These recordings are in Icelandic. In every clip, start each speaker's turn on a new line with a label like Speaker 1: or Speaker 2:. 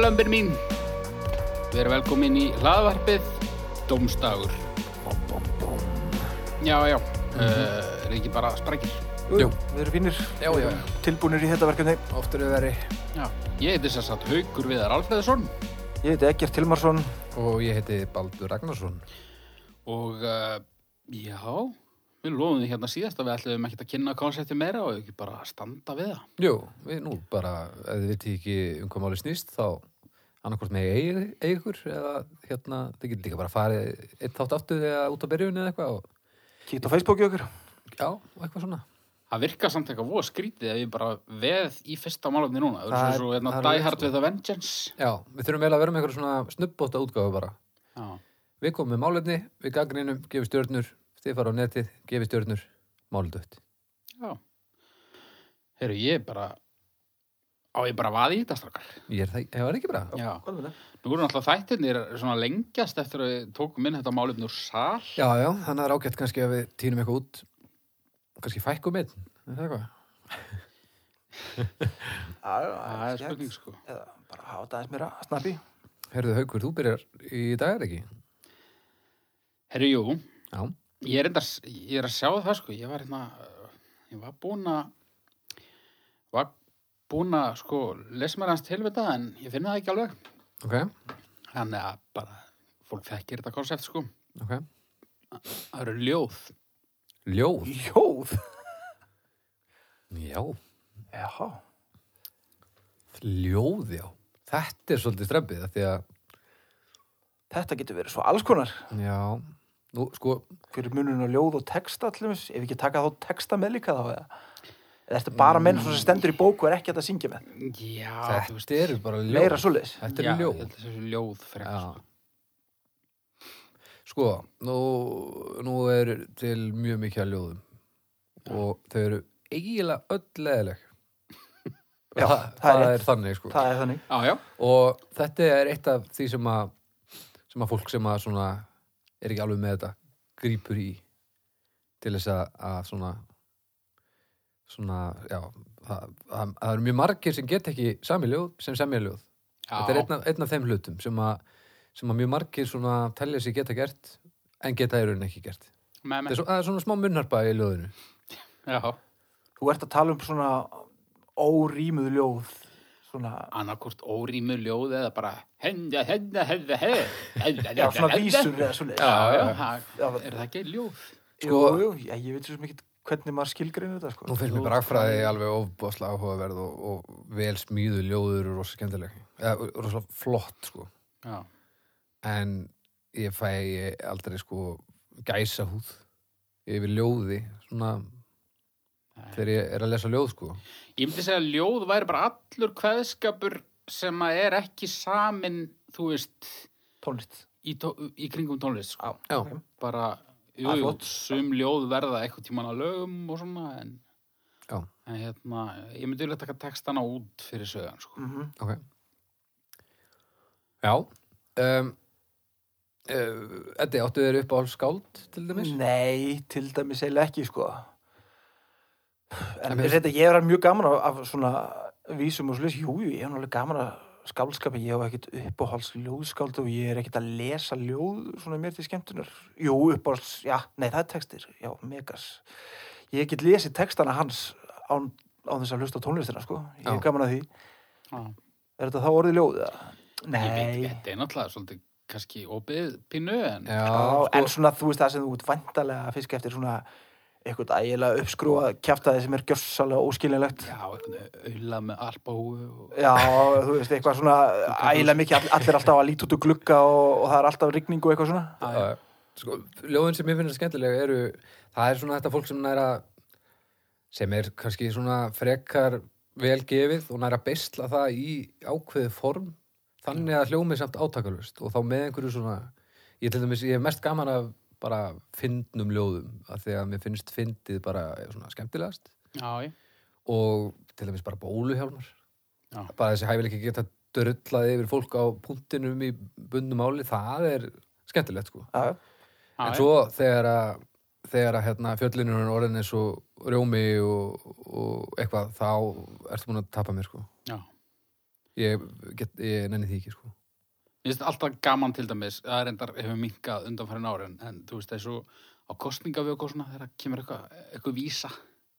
Speaker 1: lömbin mín Við erum velkomin í hlaðvarpið Dómstagur Já, já mm Er ekki bara sprækir
Speaker 2: Jú,
Speaker 3: Jú.
Speaker 2: við erum fínir,
Speaker 3: Já, já, já.
Speaker 2: tilbúinir í þetta verkefni.
Speaker 3: Oftur er veri.
Speaker 1: Já, ég heiti sér satt Haugur Viðar Alfreðsson
Speaker 2: Ég heiti Egert Tilmarsson.
Speaker 3: Og ég heiti Baldur Ragnarsson.
Speaker 1: Og uh, já Við lofum því hérna síðast að við ætlum ekkert að kynna konsepti meira og ekki bara að standa við það.
Speaker 3: Jú, við nú bara, ef þið vitið ekki um hvað máli snýst, þá annarkvort með eigur eða hérna, þið getur líka bara farið einn þátt aftur eða út á berjunni eða eitthvað og
Speaker 2: Kíkt á Facebooki okkur.
Speaker 3: já, og eitthvað svona.
Speaker 1: Það virkar samt eitthvað voða skrítið að ég bara veð í fyrsta málumni núna. Það
Speaker 2: Það
Speaker 1: er
Speaker 2: er-
Speaker 1: svo hérna
Speaker 3: það er
Speaker 1: Die Hard
Speaker 3: rétt, sko.
Speaker 1: with a Vengeance.
Speaker 3: Já, við þurfum eiginlega að vera með eitthvað svona snubbóta útgáfu bara.
Speaker 1: Já.
Speaker 3: Við komum með málefni, við gaggrinum, gefum stjörnur, þið fara á netið, gefum stjörnur, máludött.
Speaker 1: Já. Herru, ég er bara, á ég bara vaði í þetta strákar.
Speaker 3: Ég er það, ég var ekki bara.
Speaker 1: Já.
Speaker 2: Hvað er með það?
Speaker 1: Nú voru náttúrulega þættirnir svona lengjast eftir að við tókum inn þetta málefni úr sal.
Speaker 3: Já, já, þannig að það er ágætt kannski að við týnum eitthvað út, kannski fækkum einn, er það eitthvað?
Speaker 2: Það
Speaker 1: Það er spurning sko.
Speaker 2: Eða bara hafa þetta aðeins meira snappi.
Speaker 3: Herðu Haukur, þú byrjar í dag er ekki?
Speaker 1: Herru, jú,
Speaker 3: Já.
Speaker 1: ég er, endar, ég er að sjá það sko. Ég var hérna, uh, ég var búin að, var búin að sko lesa mér hans tilvita en ég finna það ekki alveg.
Speaker 3: Ok,
Speaker 1: Þannig að bara, fólk þekkir þetta konsept sko.
Speaker 3: ok.
Speaker 1: Það eru ljóð.
Speaker 3: Ljóð.
Speaker 2: Ljóð.
Speaker 3: Já.
Speaker 2: Já.
Speaker 3: Ljóð, já. Þetta er svolítið strempið, af því að,
Speaker 2: Þetta getur verið svo alls konar.
Speaker 3: já, nú, sko,
Speaker 2: Hver er munurinn á ljóð og texta allir eins? Ef ekki taka þá texta með líka þá eða? Eða ertu bara
Speaker 1: Mm.
Speaker 2: menn sem stendur í bóku og er ekki hægt að syngja með?
Speaker 1: Já, þú veist,
Speaker 3: þetta eru bara ljóð.
Speaker 2: Meira svoleiðis.
Speaker 3: Þetta
Speaker 1: Já,
Speaker 3: eru
Speaker 1: ég
Speaker 3: ljóð.
Speaker 1: held að Þessu ljóð frekar.
Speaker 3: Já.
Speaker 1: sko.
Speaker 3: Sko, nú, nú er til mjög mikið af ljóðum og þau eru eiginlega öll leðileg.
Speaker 2: Já,
Speaker 3: það,
Speaker 2: það er
Speaker 3: það
Speaker 2: rétt.
Speaker 3: er þannig, sko.
Speaker 2: Það er þannig.
Speaker 1: Já, já.
Speaker 3: og þetta er eitt af því sem að, sem að fólk sem að svona er ekki alveg með þetta grípur í til þess að, að svona svona, já það, það, það eru mjög margir sem get ekki sami ljóð sem semja ljóð þetta er einn af, einn af þeim hlutum sem að, sem að mjög margir svona telja sig geta gert en geta í rauninni ekki gert það
Speaker 1: með
Speaker 3: er,
Speaker 1: með.
Speaker 3: svo, það er svona smá munnarpa í ljóðinu
Speaker 1: Já,
Speaker 2: Þú ert að tala um svona órýmuð ljóð. Svona,
Speaker 1: annarkort órýmu ljóð eða bara henda, henda, henda, henda, henda,
Speaker 2: já, svona vísur eða svoleiðis.
Speaker 1: Já, já,
Speaker 2: Já,
Speaker 1: það- er það ekki ljóð?
Speaker 2: Jú,
Speaker 3: Sko-
Speaker 2: jú, ég, ég veit svo sem ekki hvernig maður skilgrinu þetta, sko.
Speaker 3: Nú finnst mér bragfræði alveg ofbásla áhugaverð og, og vel smíðu ljóður og rosa skemmtileg. Eða rosa flott, sko.
Speaker 1: Já,
Speaker 3: En ég fæ aldrei, sko, gæsa húð yfir ljóði, svona, þegar ég er að lesa ljóð, sko.
Speaker 1: ég myndi segja að ljóð væri bara allur kveðskapur sem að er ekki samin, þú veist,
Speaker 2: Tónlist.
Speaker 1: í, tó í kringum tónlist, sko.
Speaker 2: Já.
Speaker 3: Já.
Speaker 2: Ok.
Speaker 1: bara, jú,
Speaker 2: Það er
Speaker 1: jú,
Speaker 2: flott.
Speaker 1: sum ljóð verða eitthvað tíman að lögum og svona, en,
Speaker 3: Já.
Speaker 1: en hérna, ég myndi vilja taka textana út fyrir sögðan, sko.
Speaker 2: Mm
Speaker 3: Ok. Já. Um, uh, Eddi, áttu þér upp á skáld, til dæmis?
Speaker 2: Mm. Nei, til dæmis eiginlega ekki sko
Speaker 3: En
Speaker 2: En
Speaker 3: mér-
Speaker 2: þetta, ég er mjög gaman af, af svona vísum og slis, jú, jú, ég er náttúrulega gaman af skáldskapi, ég hef ekkert uppáhalds ljóðskáld og ég er ekkert að lesa ljóð svona mér til skemmtunar Jú, uppáhalds, já, nei, það er textir já, megas Ég get lesið textana hans án, án þess að hlusta á tónlistina, sko Ég
Speaker 3: Já.
Speaker 2: er gaman af því
Speaker 1: Já.
Speaker 2: Er þetta þá orðið ljóð? eða?
Speaker 1: Ég
Speaker 2: Nei,
Speaker 1: veit, þetta er náttúrulega svolítið kannski opið pínu en
Speaker 3: Já,
Speaker 2: Já,
Speaker 3: sko,
Speaker 2: en svona þú veist það sem þú ert vandalega að fiska eftir svona eitthvað ægilega uppskrúa kjaftaði sem er gjörsalega óskiljanlegt
Speaker 1: já auðla með albáu og...
Speaker 2: Já, þú veist, eitthvað svona ægilega mikið, all- allir alltaf að líta út úr glugga og, og það er alltaf rigning og eitthvað svona
Speaker 3: Já, já. sko, ljóðin sem ég finnir skemmtilega eru, það er svona þetta fólk sem næra sem er kannski svona frekar velgefið og næra beisla það í ákveðið form þannig að hljómið samt átakalust og þá með einhverju svona ég, til dæmis, ég hef mest gaman af bara fyndnum ljóðum af því að mér finnst fyndið bara svona skemmtilegast
Speaker 1: Já, já,
Speaker 3: og til dæmis bara bóluhjálmar
Speaker 1: Já.
Speaker 3: bara þessi hæfileiki geta drullaði yfir fólk á punktinum í bundum áli, það er skemmtilegt sko
Speaker 2: Já,
Speaker 1: já,
Speaker 3: En
Speaker 1: Ah, já.
Speaker 3: svo þegar að þegar að hérna, fjöllinu er orðin eins og rjómi og, og eitthvað þá ertu búin að tapa mér sko.
Speaker 1: já.
Speaker 3: ég, get, ég nenni því ekki sko.
Speaker 1: Mér finnst alltaf gaman til dæmis, það er endar hefur minkað undanfærin árin, en þú veist þessu á kostningavöku og svona, þegar kemur eitthvað, eitthvað vísa,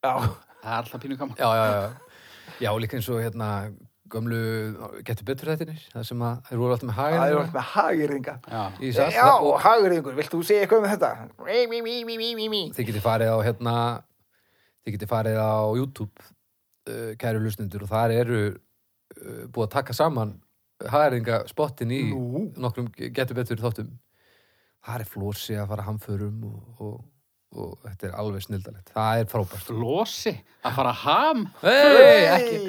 Speaker 2: Já,
Speaker 1: það er alltaf pínu gaman.
Speaker 3: já, já, já, já, líka eins og hérna gömlu, getur betur þetta það sem að þeir voru alltaf með
Speaker 2: það er
Speaker 3: hægir
Speaker 2: allt með hagyrðinga.
Speaker 1: Já,
Speaker 3: í SAS,
Speaker 2: Já, hagyrðingur, vilt þú segja eitthvað um þetta? Mí, mí, mí, mí, mí, mí, mí.
Speaker 3: þið getið farið á hérna þið getið farið á YouTube uh, kæru lusnendur og þar eru uh, búið að taka saman hæringa spottin í
Speaker 2: Nú,
Speaker 3: nokkrum getur betur þáttum þar er flósi að fara hamförum og, og, og þetta er alveg snildalegt það er frábært
Speaker 1: flosi, að fara ham.
Speaker 3: hey, ekki,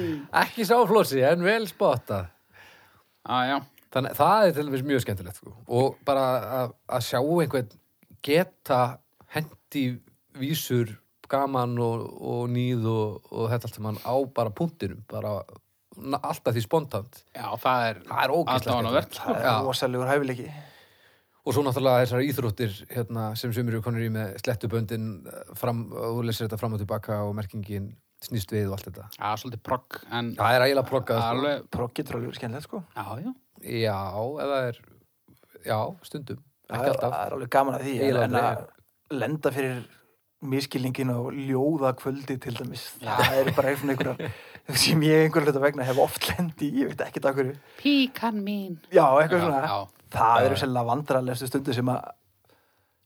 Speaker 3: ekki sá flósi en vel spottað
Speaker 1: Já, já,
Speaker 3: þannig það er til dæmis mjög skemmtilegt sko. og bara að, að sjá einhvern geta hendi vísur gaman og, og nýð og, og þetta allt sem hann á bara punktinum bara na- alltaf því spontant
Speaker 1: já, það er
Speaker 3: það er ógæslega
Speaker 1: aðdáunarvert, sko.
Speaker 2: það
Speaker 3: Já.
Speaker 2: er rosalegur hæfileiki.
Speaker 3: og svo náttúrulega þessar íþróttir hérna, sem sömur eru konur í með slettuböndin eh, fram, og þú lesir þetta fram og tilbaka og merkingin snýst við og allt þetta
Speaker 1: Já, svolítið progg, en
Speaker 3: það er ægilega proggað sko.
Speaker 1: alveg,
Speaker 2: Proggitrallegur skemmtilegt, sko.
Speaker 1: já, já.
Speaker 3: já, eða er já, stundum,
Speaker 2: Það
Speaker 3: ekki
Speaker 2: er,
Speaker 3: alltaf
Speaker 2: það er alveg gaman að því, en,
Speaker 3: Eiginlega
Speaker 2: en að lenda fyrir miskilningin og ljóða kvöldi til dæmis. Það er bara einhvern einhverjar sem ég einhvern hluta vegna hef oft lendi í, ég veit ekki það hverju.
Speaker 1: Píkan mín.
Speaker 2: Já, eitthvað
Speaker 1: Já,
Speaker 2: svona.
Speaker 1: já.
Speaker 2: Það
Speaker 3: Já,
Speaker 2: eru
Speaker 3: já.
Speaker 2: sérlega vandrarlegstu stundu sem að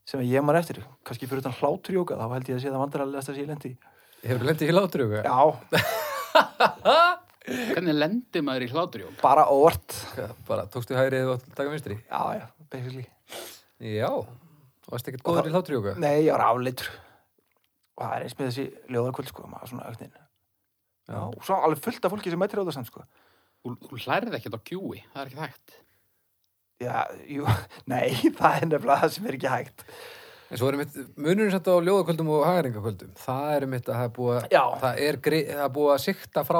Speaker 2: sem að ég man eftir, kannski fyrir utan hláturjóka, þá held ég að sé það vandrarlegasta sem ég lendi. í.
Speaker 3: hefur lendið í látrug
Speaker 2: Já,
Speaker 1: Hvernig lendir maður í hláturjók?
Speaker 2: bara óvart.
Speaker 3: Hvað, bara tókstu hægrið og taka vinstri
Speaker 2: Já, já, basically.
Speaker 3: já, þú varst ekkert góður í hlátrjóka
Speaker 2: Nei, ég var afleitur. Og það er eins með þessi ljóðakvöld, sko, maður svona auknin. Já, og svo alveg fullt af fólki sem mætir á það samt, sko.
Speaker 1: Þú þú hlærið ekkert á kjúi, það er ekki hægt.
Speaker 2: Já, jú, nei, það er nefnilega það sem er ekki hægt.
Speaker 3: en svo erum mitt, munurinn samt á ljóðakvöldum og hagaringakvöldum það er mitt að það er búið að-
Speaker 2: Já.
Speaker 3: það er, gre- það er búið að sikta frá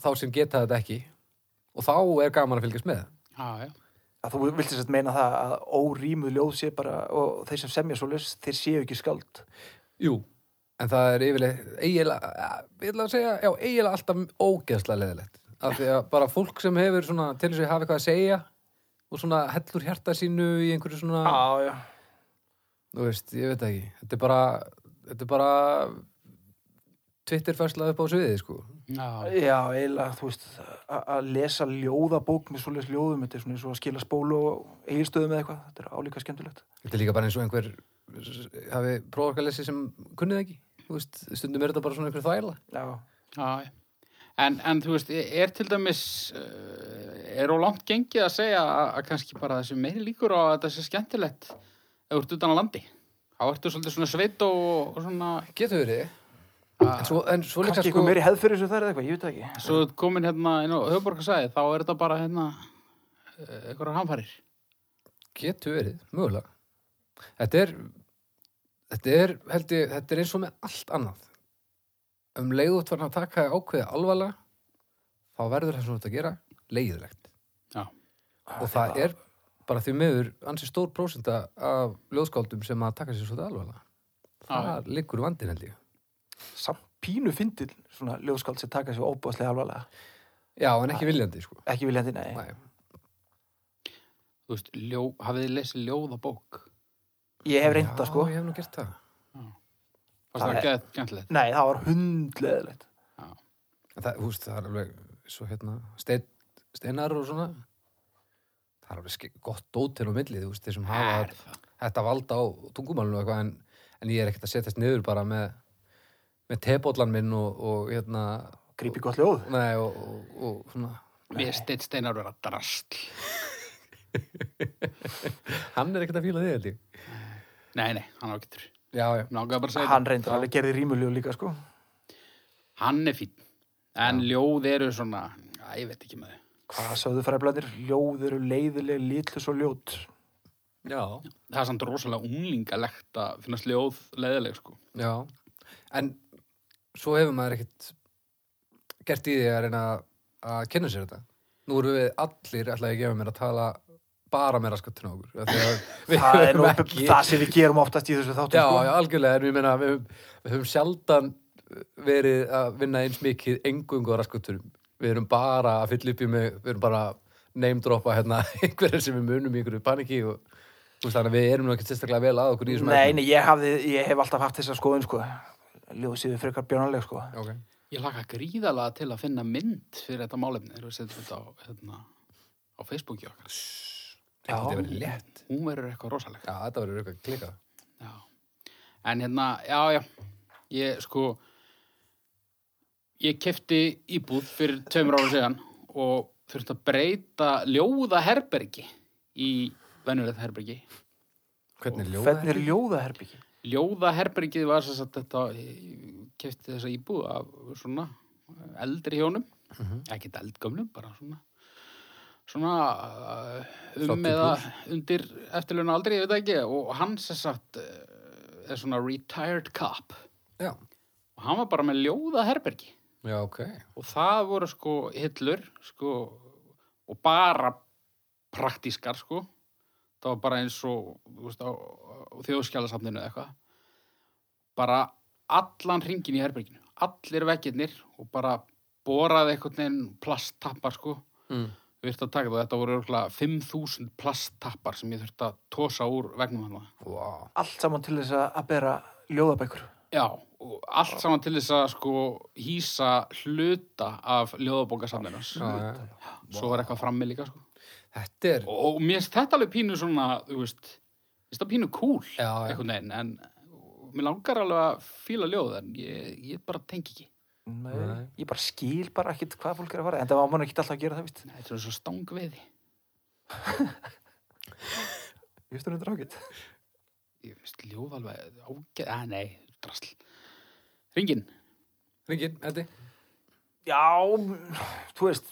Speaker 3: þá sem geta þetta ekki og þá er gaman að fylgjast með
Speaker 1: Já, já.
Speaker 2: Að þú vilt þess að meina það að órýmuð ljóð sé bara, og þeir sem semja svo laus, þeir séu ekki skáld.
Speaker 3: jú, en það er yfirlega eiginlega, eh, ég ætla að segja já, eiginlega alltaf ógeðslega leðilegt af því að bara fólk sem hefur svona til þess að hafa eitthvað að segja og svona hellur hjarta sínu í einhverju svona
Speaker 2: Já, já.
Speaker 3: þú veist, ég veit það ekki þetta er bara, þetta er bara Twitterfærsla upp á sviðið sko
Speaker 1: Já,
Speaker 2: Já, eiginlega, þú veist, að að lesa ljóðabók með svo laus ljóðum, þetta er svona eins og að skila spólu og eigilstöðum eða eitthvað, þetta er álíka skemmtilegt.
Speaker 3: þetta er líka bara eins og einhver s- hafi prófarkalessi sem kunnið ekki þú veist, stundum er þetta bara svona einhver þvæla
Speaker 2: Já,
Speaker 1: já. já. En, en þú veist, e, er til dæmis, eh, er á langt gengið að segja að, að kannski bara þessi meiri líkur á að þetta sé skemmtilegt ef þú ert utan á landi. Þá ertu svolítið svona sveit og, og svona,
Speaker 3: getur verið
Speaker 1: Ah.
Speaker 3: en svo, en svo líka
Speaker 2: kannski
Speaker 3: sko
Speaker 2: eitthvað meiri hefð fyrir þessu þar eða eitthvað, ég veit það ekki.
Speaker 1: svo þú ert komin hérna inn á höfuborgarsæði, þá er þetta bara hérna eh, einhverjar hamfarir.
Speaker 3: getur verið, mögulega þetta er þetta er, held ég, þetta er eins og með allt annað um leiðut var hann að taka ákveði alvarlega þá verður það svona þetta að gera leiðilegt
Speaker 2: Ah,
Speaker 3: og það er bara því meður ansi stór prósenda af ljóðskáldum sem að taka sér svolítið alvarlega
Speaker 2: Ah,
Speaker 3: það liggur vandin held ég
Speaker 2: Samt pínu fyndil svona ljóðskáld sem taka sér óbúðslega alvarlega.
Speaker 3: já en
Speaker 2: Ah.
Speaker 3: ekki viljandi sko
Speaker 2: Ekki viljandi, nei.
Speaker 3: Nei.
Speaker 1: Þú veist, ljó, hafið þið lesið ljóðabók?
Speaker 2: Ég hef reynda, sko.
Speaker 3: já ég hef nú gert það
Speaker 1: Fannst
Speaker 2: Það
Speaker 1: það
Speaker 2: er-
Speaker 1: ekki að skemmtilegt?
Speaker 2: Nei, það var hundleðilegt.
Speaker 3: En það, húst, það er alveg svo hérna stein, steinar og svona það er alveg ske- gott dót til á milli þú veist, þeir sem
Speaker 1: Er
Speaker 3: hafa
Speaker 1: það?
Speaker 3: þetta valda á tungumálinu og eitthvað en, en ég er ekkert að setjast niður bara með með tebóllan minn og, og hérna
Speaker 2: Grípi gott ljóð.
Speaker 3: nei, og, og, og svona
Speaker 1: Mér steitt steinar vera drastl.
Speaker 3: hann er ekkert að fíla þig held ég
Speaker 1: Nei, nei, hann á getur.
Speaker 3: já, já,
Speaker 1: Nákaði bara að segja
Speaker 2: Hann reyndar alveg gerði rímuljó líka sko
Speaker 1: þetta. Hann er fín. En ljóð eru svona, að, ég veit ekki með þau.
Speaker 2: Hvað sögðu fræflandir? Ljóð eru leiðileg, lítlus og ljót
Speaker 3: já.
Speaker 1: Það er samt rosalega unglingalegt að finnast ljóð leðileg, sko.
Speaker 3: Já, en svo hefur maður ekkert gert í því að reyna að kynna sér þetta. Nú erum við allir alltaf ekki að mér að tala bara meira skattin á okkur. af því að Við
Speaker 2: Það er
Speaker 3: höfum
Speaker 2: nú
Speaker 3: ekki-
Speaker 2: það sem við gerum oftast í þessu þáttum
Speaker 3: Já,
Speaker 2: sko
Speaker 3: já, algjörlega, en ég meina við, höfum- við höfum sjaldan verið að vinna eins mikið engungu á raskotturum. við erum bara að fylla upp í mig við erum bara að name droppa hérna einhverjar sem við munum í einhverju paniki og þú veist þannig að við erum nú ekkert sérstaklega vel að okkur í þessum
Speaker 2: Nei,
Speaker 3: efnum.
Speaker 2: nei, ég, hafði, ég hef alltaf haft þessa skoðun sko. Ljóðið séu frekar bjónaleg sko.
Speaker 3: Ok.
Speaker 1: Ég laka gríðalega til að finna mynd fyrir þetta málefni þegar við setjum þetta á, hérna, á Facebooki okkar.
Speaker 2: Já,
Speaker 3: Þetta verður létt.
Speaker 1: Hún verður eitthvað rosalegt.
Speaker 3: Já, þetta verður eitthvað klikað.
Speaker 1: Já. En hérna, já, já, ég sko, ég kefti íbúð fyrir tveimur ára síðan og þurfti að breyta ljóða herbergi í venjulegt herbergi.
Speaker 3: Hvernig ljóða
Speaker 2: Hvernig er ljóðaherbyggi?
Speaker 1: Ljóða herbergið var þess að þetta, kefti þessa íbúð af svona eldri hjónum. ekkert eldgömlum, bara svona svona uh, um
Speaker 3: 30
Speaker 1: eða
Speaker 3: plús.
Speaker 1: undir eftirluna aldrei, ég veit það ekki og hann sem sagt uh, er svona retired cop
Speaker 3: Já,
Speaker 1: og hann var bara með ljóða herbergi
Speaker 3: já, ok.
Speaker 1: og það voru sko hillur sko og bara praktískar sko það var bara eins og þú veist, á, á þjóðskjálasafninu eða eitthvað bara allan ringin í herberginu allir vekkirnir og bara boraði einhvern veginn plasttappar sko
Speaker 3: Mm.
Speaker 1: við þurfti að taka það, þetta voru örgulega 5.000 plasttappar sem ég þurfti að tosa úr vegnum hann
Speaker 3: Wow.
Speaker 2: Allt saman til þess að að bera ljóðabækur.
Speaker 1: Já, og allt saman til þess að sko hýsa hluta af ljóðabókasamlinars
Speaker 3: Já, já.
Speaker 1: svo var eitthvað frammi líka sko.
Speaker 3: Þetta er,
Speaker 1: og, og mér finnst þetta alveg pínu svona þú veist, mér finnst það pínu cool
Speaker 3: Já, já.
Speaker 1: einhvern veginn, en og mér langar alveg að fíla ljóð en ég, ég bara tengi ekki
Speaker 2: Nei.
Speaker 3: Nei.
Speaker 2: Ég bara skil bara ekkit hvað fólk er að fara. En það var mann ekki alltaf að gera það, víst.
Speaker 1: þetta er svo stangveiði
Speaker 2: Ég veist það er drákitt.
Speaker 1: ég finnst ljóð alveg ágæð að nei, drasl Ringin,
Speaker 3: ringin, Eddi.
Speaker 2: Já, mm, þú veist.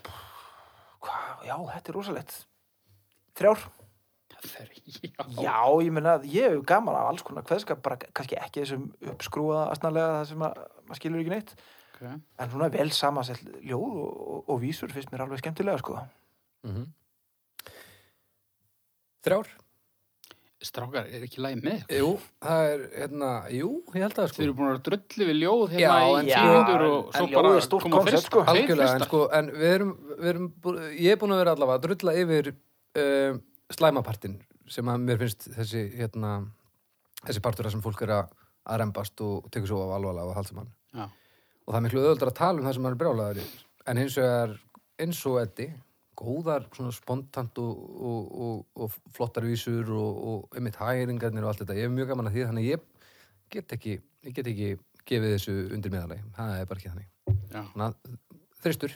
Speaker 2: Hvað, já, þetta er rosalegt. Þrjár.
Speaker 1: það er já,
Speaker 2: Já, ég meina að ég hef gaman af alls konar kveðskap, bara kannski ekki þessum uppskrúaða aðsnalega það sem að maður skilur ekki neitt.
Speaker 1: okay.
Speaker 2: En svona vel samansett ljóð og, og, og vísur finnst mér alveg skemmtilega, sko.
Speaker 3: Mm Þrjár?
Speaker 1: strákar, er ekki læg með ykkur?
Speaker 3: Jú, það er, hérna, jú, ég held að sko.
Speaker 1: Þið eru búin að vera drullu við ljóð
Speaker 3: Já,
Speaker 1: hérna
Speaker 3: en
Speaker 1: í
Speaker 3: sko-
Speaker 1: tíundur og
Speaker 2: en
Speaker 1: svo
Speaker 2: ljóð
Speaker 1: bara
Speaker 2: er stórt
Speaker 1: koma
Speaker 2: konsept,
Speaker 1: fyrst
Speaker 2: sko.
Speaker 1: þeir
Speaker 3: Algjörlega, en
Speaker 1: fyrstar.
Speaker 3: sko, en við erum, við erum, bú- ég er búin að vera allavega að drulla yfir uh, slæmapartin sem að mér finnst þessi, hérna, þessi partur þar sem fólk er að, að rembast og tekur svo af alvarlega og halsamann.
Speaker 1: Já.
Speaker 3: Og það er miklu öðuldar að tala um það sem maður er brjálaður yfir. En eins og er, eins og eddi, góðar, svona spontant og, og, og, og flottar vísur og, og einmitt hæringarnir og allt þetta. Ég hef mjög gaman að því, þannig að ég get ekki, ég get ekki gefið þessu undir meðalagi. Það er bara ekki þannig.
Speaker 1: Já.
Speaker 3: Þannig að þristur.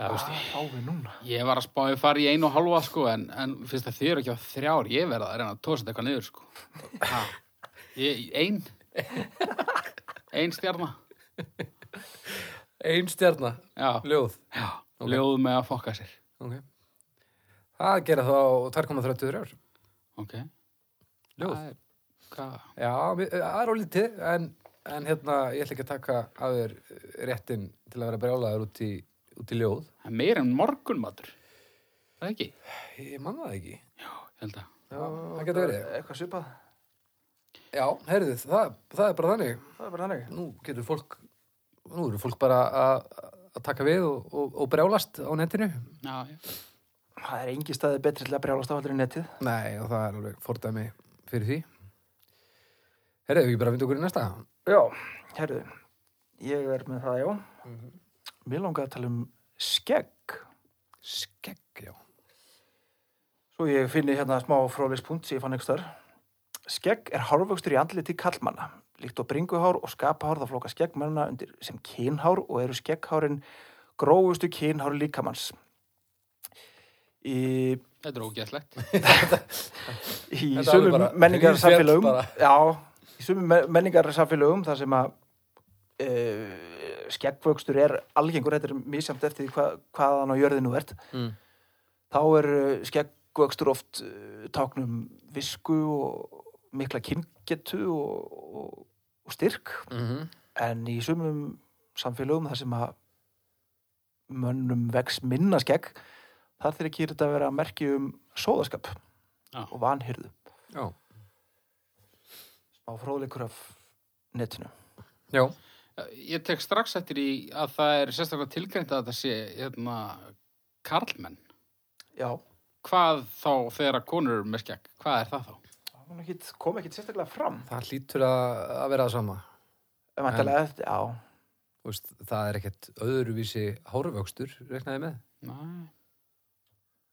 Speaker 1: Það, veist,
Speaker 2: Hvað á við núna?
Speaker 1: ég var að spáði fara í einu og halva sko, en, en fyrst að þið eru ekki á þrjár ég verða að reyna að tósa þetta eitthvað niður sko. Ha. ég, ein ein stjarna
Speaker 3: Ein stjarnar,
Speaker 1: já,
Speaker 3: ljóð.
Speaker 1: já ljóð með að fokka sér
Speaker 3: Ok. Það gera þá 2,33 ár.
Speaker 1: ok,
Speaker 3: Ljóð.
Speaker 1: Það er- hvað
Speaker 3: Já, við- eh, það er ólítið, en, en hérna, ég ætla ekki að taka að þér réttin til að vera brjálaður út í, út í ljóð.
Speaker 1: það er meira en morgunmatur það ekki,
Speaker 3: Ég man það ekki.
Speaker 1: ég held að
Speaker 3: Já, það getur verið.
Speaker 2: Eitthvað svipað.
Speaker 3: Já, heyrðu, það, það er bara þannig.
Speaker 2: Það er bara þannig.
Speaker 3: Nú getur fólk, nú eru fólk bara að, að taka við og, og, og brjálast á netinu.
Speaker 1: já, já.
Speaker 2: Það er engi staði betri til að brjálast á aldrei netið.
Speaker 3: Nei, og það er alveg fordæmi fyrir því. Heyrðu, ef ekki bara að vinda okkur í næsta.
Speaker 2: Já, Mhm. herruðu. Ég er með það, já. Mér langaði að tala um skegg.
Speaker 3: Skegg, já.
Speaker 2: Svo ég finni hérna smá frólispunkt sem ég fann ykkur þar. Skegg er hárvöxtur í andliti kallmanna, líkt og bringuhár og skapahár það flóka skeggmennina undir sem kynhár og eru skegghárin grófustu kynhár líkamanns. Í,
Speaker 1: þetta er ógæslegt
Speaker 2: í
Speaker 3: Þetta er alveg
Speaker 2: sömu
Speaker 3: bara
Speaker 2: menningarsamfélögum,
Speaker 3: rífjöll
Speaker 2: já, í sömu me- menningarsamfélögum þar sem að e, skeggvöxtur er algengur, þetta er misjamt eftir því hva, hvaðan á jörðinu þú ert,
Speaker 3: Mm.
Speaker 2: þá er uh, skeggvöxtur oft uh, táknum visku og mikla kyngetu og, og, og styrk
Speaker 3: Mm
Speaker 2: en í sumum samfélögum þar sem að mönnum vex minna skegg þar þeir ekki þetta að vera að merki um sóðaskap
Speaker 1: Já.
Speaker 2: og vanhyrðu
Speaker 3: Já.
Speaker 2: smá fróðleikur af netinu
Speaker 3: Já.
Speaker 1: Ég tek strax eftir í að það er sérstaklega tilgreint að þetta sé hérna, karlmenn.
Speaker 2: Já,
Speaker 1: Hvað þá þegar að konur eru með skegg? Hvað er það þá?
Speaker 2: hún ekkit, kom ekkit sérstaklega fram.
Speaker 3: það hlýtur að, að vera það sama
Speaker 2: En væntanlega eftir, já,
Speaker 3: Þú veist, það er ekkert öðruvísi hárvöxtur, reknaði með
Speaker 1: Næ,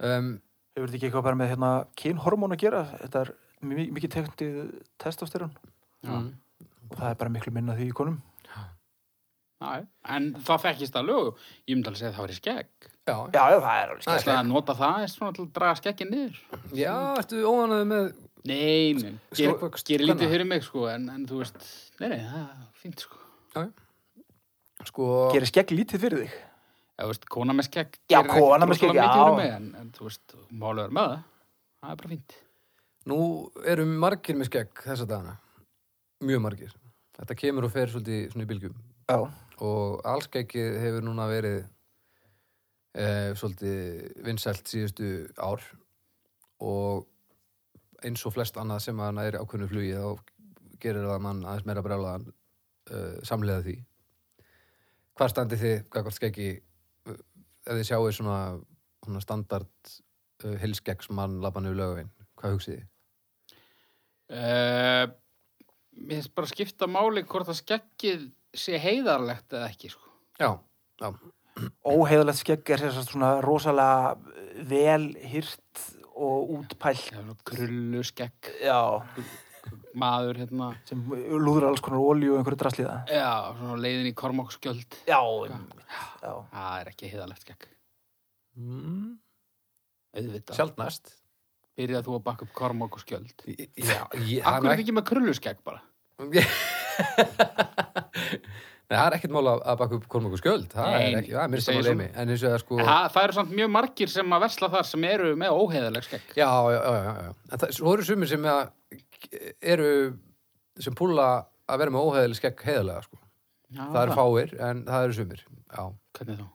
Speaker 3: um,
Speaker 2: hefur þetta ekki eitthvað bara með hérna kynhormón að gera? Þetta er mi- mikið tekndið testosterun
Speaker 1: já.
Speaker 3: Mm.
Speaker 2: og það er bara miklu minna af því í konum.
Speaker 1: Næ, en það þekkist að lögu. Ég myndi alveg segja að það væri skegg.
Speaker 3: já, já,
Speaker 2: Já, já, það er alveg
Speaker 3: Það
Speaker 1: Það
Speaker 3: er
Speaker 1: er að nota það eins svona til að draga skeggin niður.
Speaker 3: já ertu óanæðu með
Speaker 1: Nei, nei. Ger,
Speaker 3: Stórvöxt
Speaker 1: gerir
Speaker 3: kvenna.
Speaker 1: lítið fyrir mig, sko, en, en þú veist, nei, nei, það er fínt, sko.
Speaker 3: sko,
Speaker 2: Gerir skegg lítið fyrir þig?
Speaker 1: Já, þú veist, kona með skegg
Speaker 2: Já,
Speaker 1: gerir ekkert
Speaker 2: kona með skegg,
Speaker 1: rosalega
Speaker 2: já.
Speaker 1: mikið fyrir mig, En, en þú veist, málið er með það. Það er bara fínt.
Speaker 3: nú eru margir með skegg þessa dagana mjög margir þetta kemur og fer svolítið svona í bylgjum
Speaker 2: Já,
Speaker 3: og allskeggið hefur núna verið e, svolítið vinsælt síðustu ár og eins og flest annað sem að næri ákveðnu flugi þá gerir það mann aðeins meira brjálaðan e, samlega því Hvar standið þið, gagvart skeggi eh, ef þið sjáu svona, svona standard e, hilskeggsmann labban yfir lögavinn, hvað hugsið þið?
Speaker 1: Uh, mér finnst bara að skipta máli hvort að skeggið sé heiðarlegt eða ekki sko.
Speaker 3: Já, já,
Speaker 2: óheiðalegt skegg er þess svona rosalega vel hýrt og útpælt.
Speaker 1: Það er nú krullu skegg
Speaker 2: Já,
Speaker 1: maður hérna
Speaker 2: sem lúður alls konar olíu og einhverju drasliða.
Speaker 1: já, svona á leiðin í kormóksgjöld
Speaker 2: Já, einmitt, já.
Speaker 1: það er ekki heiðarlegt skegg
Speaker 3: mm,
Speaker 1: auðvitað,
Speaker 3: sjaldnast
Speaker 1: byrjað þú að bakka upp kormóksgjöld
Speaker 3: Já, ég,
Speaker 1: Akkur er ekki með krullu skegg bara
Speaker 3: Ég- Nei, það er ekkert mál að að baka upp kormöku skjöld það
Speaker 1: Nei,
Speaker 3: er
Speaker 1: nei,
Speaker 3: ekki, það er mér
Speaker 1: ég
Speaker 3: sem að
Speaker 1: segi
Speaker 3: leimi en eins og það sko
Speaker 1: en
Speaker 3: já,
Speaker 1: það, það eru samt mjög margir sem að versla þar sem eru með óheiðarlegt skegg
Speaker 3: já, já, já, já. En það, svo eru sumir sem að eru sem púla að vera með óheðileg skegg heiðalega sko.
Speaker 1: já,
Speaker 3: það eru fáir en það eru sumir já.
Speaker 1: hvernig þá?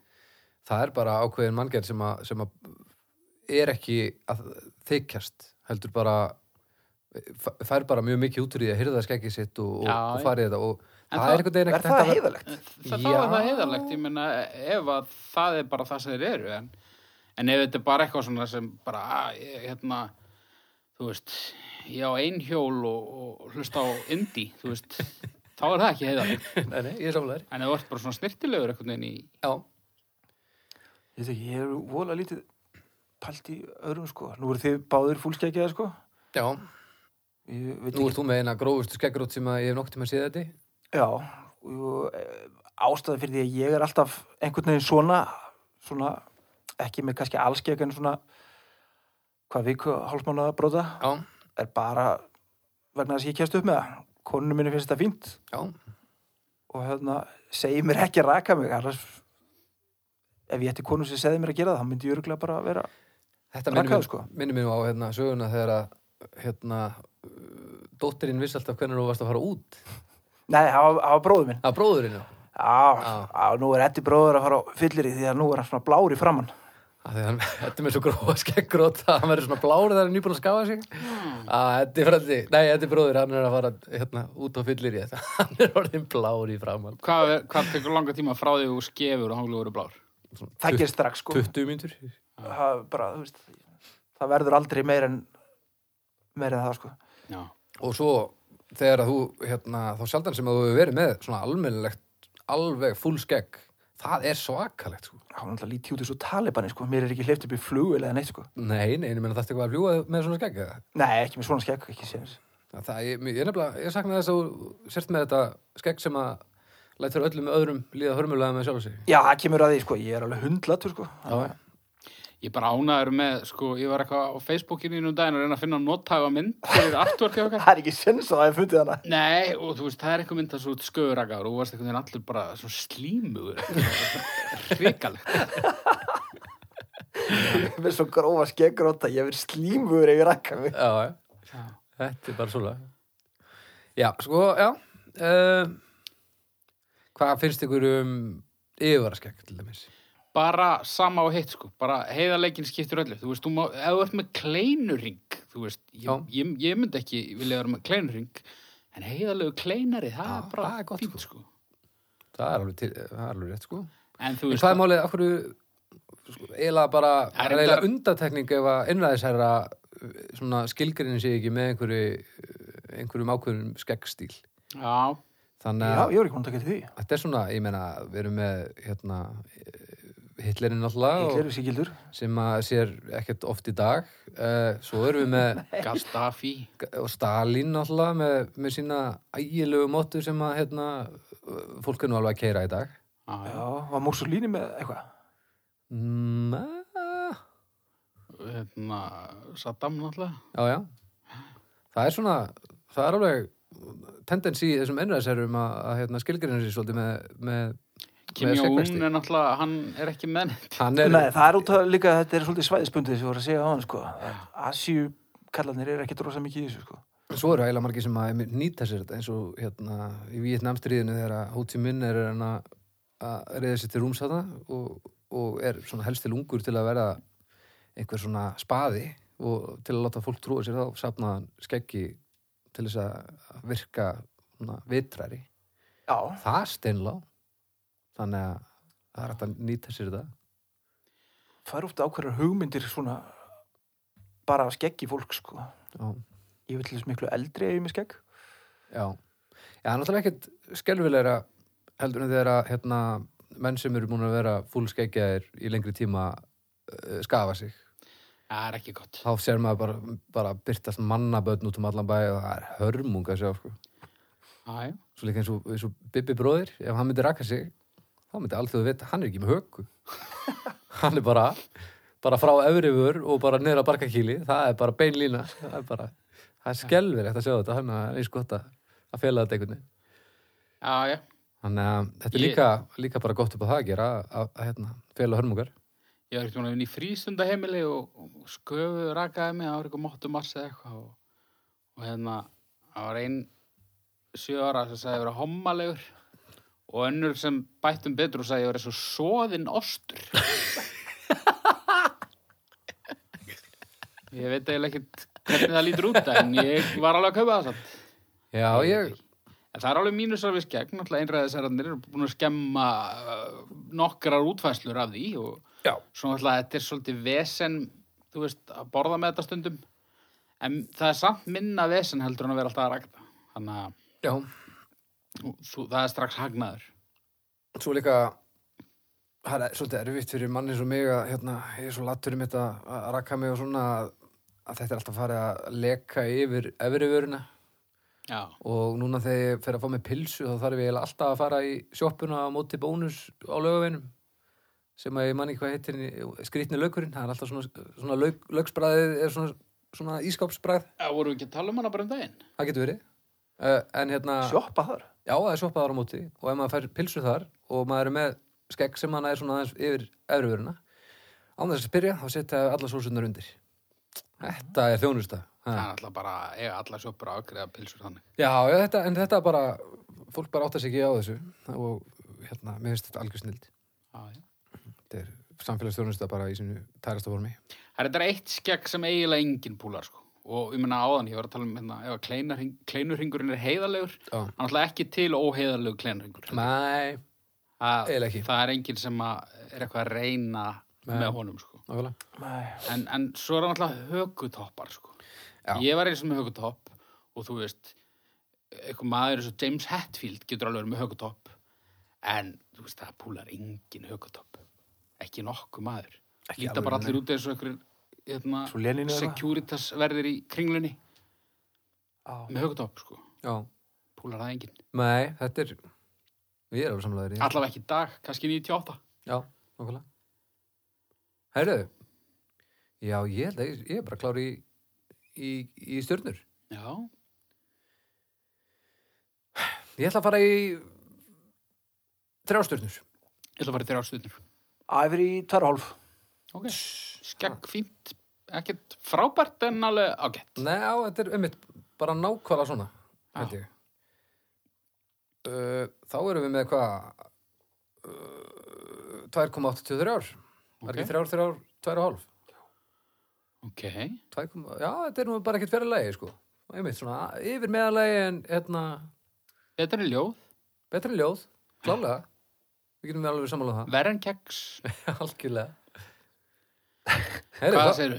Speaker 3: það er bara ákveðin manngerð sem að, sem að er ekki að þykjast heldur bara fær- fær bara mjög mikið út úr því að hyrða skeggið sitt og, og,
Speaker 1: Já,
Speaker 3: og
Speaker 1: já.
Speaker 3: farið þetta og
Speaker 1: En
Speaker 3: það
Speaker 1: það-
Speaker 3: er einhvern veginn
Speaker 2: Er
Speaker 3: ekkert
Speaker 2: það
Speaker 3: hægt að-
Speaker 2: heiðalegt?
Speaker 1: það, Eh, þá er það
Speaker 3: Já.
Speaker 1: heiðarlegt, ég meina ef að það er bara það sem þeir eru en, en ef þetta er bara eitthvað svona sem bara, að, ég- hérna þú veist, ég á ein hjól og, og hlusta á indi þú veist, þá er það ekki heiðarlegt
Speaker 3: Nei, nei, ég er samlega
Speaker 1: en ef þú ert bara svona snirtilegur einhvern veginn í
Speaker 3: já,
Speaker 2: Ég veit ekki, ég er vola lítið pælt í öðrum sko. Nú eru þið báðir fúlskeggiða sko.
Speaker 3: já
Speaker 2: Ég veit
Speaker 3: Nú
Speaker 2: ekki.
Speaker 3: ert þú með eina grófustu skeggrót sem að ég hef nokkuð tíma séð þetta í.
Speaker 2: Já, og e, ástæði fyrir því að ég er alltaf einhvern veginn svona, svona, ekki með kannski allskegg en svona, hvað viku hálfmánaða bróta,
Speaker 3: Já,
Speaker 2: er bara vegna þess að ég kjast upp með það. Konunum minni finnst þetta fínt
Speaker 3: já,
Speaker 2: og hérna, segi mér ekki að raka mig annars ef ég ætti konu sem segði mér að gera það, þá myndi ég örgulega bara vera
Speaker 3: þetta minnir
Speaker 2: rakaður
Speaker 3: mig,
Speaker 2: sko
Speaker 3: minnir mig nú á hérna, söguna þegar að hérna, uh, dóttirinn vissi alltaf hvernig þú varst að fara út
Speaker 2: Nei, það var- það var bróður minn
Speaker 3: að bróðurinn á,
Speaker 2: Já, já, nú er Eddi bróður að fara á fyllir í því að nú er hann svona blár í framann
Speaker 3: af því að hann- þetta er með svo grófa skeggrót að hann verður svona blár þegar hann er nýbúin að skafa sig að þetta er frændi, nei, þetta er bróður hann er að fara hérna, út á fyllir í þetta hann er orðin blár í framann
Speaker 1: hvað, er- hvað tekur langa tíma frá því þú skefur og hanglu eru blár
Speaker 2: Það gerist strax sko
Speaker 3: 20 mínútur
Speaker 2: það, er bara, þú veist, það verður aldrei meir en meir en það sko
Speaker 1: já,
Speaker 3: og svo þegar að þú hérna, þá sjaldan sem að þú hefur verið með svona almennilegt, alveg full skegg það er svakalegt sko
Speaker 2: Hann er alltaf lítið út í svo talibani sko Mér er ekki hleyft upp í flugil eða neitt sko
Speaker 3: Nei, nei, ég menn að það eitthvað að fljúa með svona skegg eða?
Speaker 2: Nei, ekki með svona skegg, ekki séns
Speaker 3: Það, það, ég, ég nefnilega, ég sakna þess að þú sért með þetta skegg sem að lætur öllum öðrum líða hörmulega með sjálf sig.
Speaker 2: Já, það kemur að því sko, ég er alveg hundlatur sko
Speaker 3: Já.
Speaker 1: ég bara ánæður með sko, ég var eitthvað á Facebookinu innum daginn að reyna að finna nottaga mynd fyrir artworkið okkar
Speaker 2: Það er ekki séns að það er fundið hana
Speaker 1: Nei, og þú veist, það er eitthvað mynd að svo sköðurakaður og þú varst einhvern veginn allur bara svo slímugur hrikalegt
Speaker 2: með svo grófa skeggróta ég verið slímur yfir rakka mig
Speaker 3: Já, já. Þetta er bara svolítið. Já, sko, já. Uh, hvað finnst ykkur um yfirvaraskegg til dæmis?
Speaker 1: bara sama og hitt sko, bara heiðarleikin skiptir öllu, þú veist, þú má, ef þú ert með kleinurring, þú veist
Speaker 3: Já.
Speaker 1: ég, ég, ég myndi ekki vilja vera með kleinurring en heiðarlegu kleinari, það
Speaker 3: Já,
Speaker 1: er bara
Speaker 3: það er gott,
Speaker 1: fínt sko,
Speaker 3: það er alveg, til, það er alveg rétt sko
Speaker 1: en þú
Speaker 3: en
Speaker 1: veist
Speaker 3: hvað er málið, af hverju sko, eiginlega bara,
Speaker 1: Það er
Speaker 3: það er eiginlega
Speaker 1: reyndar-
Speaker 3: undatekning ef að innræðisherra uh, svona skilgrinni sig ekki með einhverju uh, einhverjum ákveðnum skeggstíl
Speaker 1: já,
Speaker 3: þannig
Speaker 2: Já,
Speaker 3: að
Speaker 2: ég var ekki búin að taka til því.
Speaker 3: þetta er svona, ég meina við erum með hérna eh, Hitlerinn alltaf
Speaker 2: Hitler
Speaker 3: og,
Speaker 2: er síkildur.
Speaker 3: sem að sér ekkert oft í dag uh, svo erum við með
Speaker 1: Gaddafi
Speaker 3: og Stalin alltaf með, með sína ægilegu móttu sem að hérna, uh, fólk er nú alveg að keira í dag
Speaker 1: já,
Speaker 2: Já,
Speaker 1: já.
Speaker 2: var Mussolini með eitthvað?
Speaker 3: mm, ah,
Speaker 1: Hérna, Saddam náttúrulega
Speaker 3: já, já það er svona, það er alveg tendensi í þessum ennræðsherrum að, að hérna, skilgrinna sér svolítið með, með
Speaker 1: Kim
Speaker 3: Með
Speaker 1: Jong-un
Speaker 3: segvexti.
Speaker 1: er náttúrulega, hann er ekki með neitt
Speaker 3: hann er,
Speaker 2: Nei, það er út að líka, þetta er svolítið svæðisbundið sem ég voru að segja á hann, sko. Asíu kallarnir eru ekkert rosa mikið í þessu, sko.
Speaker 3: svo eru eiginlega margir sem að einmitt nýta sér þetta eins og hérna í Vietnamstríðinu þegar að Ho Chi Minh er hann að að reyða sér til rúms þarna og, og er svona helst til ungur til að verða einhver svona spaði og til að láta fólk trúa sér þá safna hann skeggi til þess að virka svona vitrari
Speaker 2: Já,
Speaker 3: það er steinlá þannig að það er hægt að nýta sér þetta
Speaker 2: það eru ofta ákveðar hugmyndir svona bara að skeggi fólk, sko.
Speaker 3: Já.
Speaker 2: Ég vil til þess miklu eldri ef ég er með skegg.
Speaker 3: Já, já, náttúrulega ekkert skelfilegra heldur en þegar að hérna, menn sem eru múin að vera fúlskeggjaðir í lengri tíma uh, skafa sig.
Speaker 1: það er ekki gott
Speaker 3: Þá sér maður bara, bara byrtast mannaböðn út um allan bæ og það er hörmung að sjá, sko.
Speaker 1: já, já.
Speaker 3: Svo líka eins og, eins og Bibbi bróðir, ef hann myndi raka sig, þá myndi alþjóð vita, hann er ekki með höku. hann er bara, bara frá efrifur og bara niður að barkakíli, það er bara beinlína, það er bara, það er skelfilegt að sjá þetta, þannig að það er eins gott að, að fela þetta einhvern veginn.
Speaker 1: já, já
Speaker 3: Þannig að þetta er
Speaker 1: Ég-
Speaker 3: líka, líka bara gott upp á það að gera að, að, að hérna, fela hörmungar.
Speaker 1: ég var eitthvað inn í frístundaheimili og, og sköfu rakaði mig, það var eitthvað móttumars eða eitthvað og, og hérna, það var ein sjö ára sem sagði að vera hommalegur og önnur sem bættum betur og sagði að vera svo soðinn ostur ég veit eiginlega ekkert hvernig það lítur út en ég var alveg að kaupa það samt
Speaker 3: Já, ég,
Speaker 1: En það er alveg mínusar við skegg, náttúrulega einræðisærandir eru búin að skemma uh, nokkrar útfæslur af því og
Speaker 3: Já.
Speaker 1: svo náttúrulega þetta er svolítið vesen, þú veist, að borða með þetta stundum. En það er samt minna vesen heldur en að vera alltaf að rækta. Þannig að
Speaker 3: já,
Speaker 1: og svo, það er strax hagnaður.
Speaker 3: svo líka, það er svolítið erfitt fyrir manni eins og mig að hérna, ég er svo lattur um þetta að rakka mig og svona að, að þetta er alltaf farið að leka yfir efrivöruna
Speaker 1: Já.
Speaker 3: og núna þegar ég fer að fá mig pilsu þá þarf ég eiginlega alltaf að fara í sjoppuna á móti bónus á laugaveinum sem að ég manni hvað heitir henni, skrýtni laukurinn, það er alltaf svona, svona lauk, lauksbræðið er svona, svona ískapsbræð
Speaker 1: Það vorum við ekki að tala um hana bara um daginn.
Speaker 3: það getur verið uh, en hérna,
Speaker 2: Sjoppa þar.
Speaker 3: já það er sjoppaðar á móti og ef maður fær pilsu þar og maður er með skegg sem hann er svona aðeins yfir efrivöruna, án þess að spyrja þá setja alla sósunar undir þetta er þjónusta ha.
Speaker 1: Það er alltaf bara, eiga allar sjoppur að afgreða pilsur þannig.
Speaker 3: já, já þetta, en þetta bara fólk bara átta sig ekki á þessu og hérna, mér finnst þetta algjör snild
Speaker 1: Já, já.
Speaker 3: þetta er samfélagsþjónusta bara í sínu tærasta formi
Speaker 1: Það er þetta eitt skegg sem eiginlega enginn púlar, sko. Og ég menna áðan, ég var að tala um hérna, ef að kleinarhring- kleinurhringurinn er heiðarlegur,
Speaker 3: já,
Speaker 1: hann er alltaf ekki til óheiðarlegu kleinurringur.
Speaker 3: mæ,
Speaker 1: það,
Speaker 3: Eiginlega ekki.
Speaker 1: það er enginn sem að er eitthvað að reyna
Speaker 3: Nei.
Speaker 1: með honum sko.
Speaker 3: náfæla
Speaker 2: Nei.
Speaker 1: en, en svo er hann alltaf högutoppar sko.
Speaker 3: Já.
Speaker 1: ég var eins og með högutopp og þú veist eitthvað maður eins og James Hetfield getur alveg verið með högutopp en þú veist það púlar engin högutopp ekki nokku maður
Speaker 3: Ekki
Speaker 1: líta
Speaker 3: alveg,
Speaker 1: bara allir
Speaker 3: nei.
Speaker 1: út eins og einhverjir hérna,
Speaker 2: Svo Lenin eða eitthvað?
Speaker 1: securitas verðir í kringlunni
Speaker 2: Já.
Speaker 1: með högutopp sko.
Speaker 3: já,
Speaker 1: púlar það engin
Speaker 3: mæ, þetta er við erum samlæður í þessu.
Speaker 1: allavega ekki í dag, kannski 98
Speaker 3: Já, nokkulega. Herðu, já, ég held að ég, ég er bara klári í, í, í stjörnur.
Speaker 1: já,
Speaker 3: Ég ætla að fara í þrjá stjörnur.
Speaker 1: ég ætla að fara í þrjá stundum
Speaker 2: Æfri í tvær og hálf.
Speaker 1: Ok, skegg fínt, ekkert frábært en alveg ágætt.
Speaker 3: Nei, á, þetta er ummitt bara nákvæmlega svona,
Speaker 1: Já.
Speaker 3: held ég. Uh, þá erum við með hvað? Uh, 2,83 ár. Það er
Speaker 1: Ok.
Speaker 3: ekki þrjár, þrjár, tvær og hálf.
Speaker 1: Ok,
Speaker 3: 2,- Já, þetta er nú bara ekkert fyrir lagi, sko. Einmitt svona yfir meðalagi en hérna...
Speaker 1: þetta er ljóð.
Speaker 3: betra en ljóð, klálega Við getum alveg samanlega
Speaker 1: Verren keks,
Speaker 3: það Algjörlega
Speaker 1: hvað
Speaker 3: Herri,
Speaker 1: segirðu?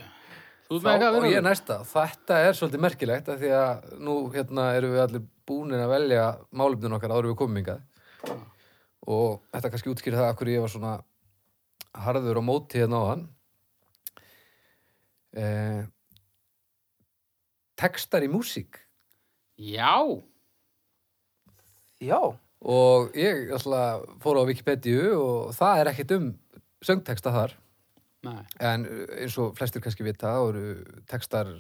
Speaker 1: Þú
Speaker 3: þá,
Speaker 1: með
Speaker 3: þá
Speaker 1: eitthvað að
Speaker 3: og ég
Speaker 1: vera?
Speaker 3: er næsta Þetta er svolítið merkilegt af Því að nú hérna erum við allir búnir að velja Málefnin okkar áður en við komum hingað Og þetta kannski útskýrir það Akkur ég var svona harður á móti hérna á hann eh, Textar í músík
Speaker 1: Já,
Speaker 2: Já,
Speaker 3: og ég alltaf fór á Wikipedia og það er ekkert um söngtexta þar
Speaker 1: nei,
Speaker 3: en eh, eins og flestir kannski vita þá eru textar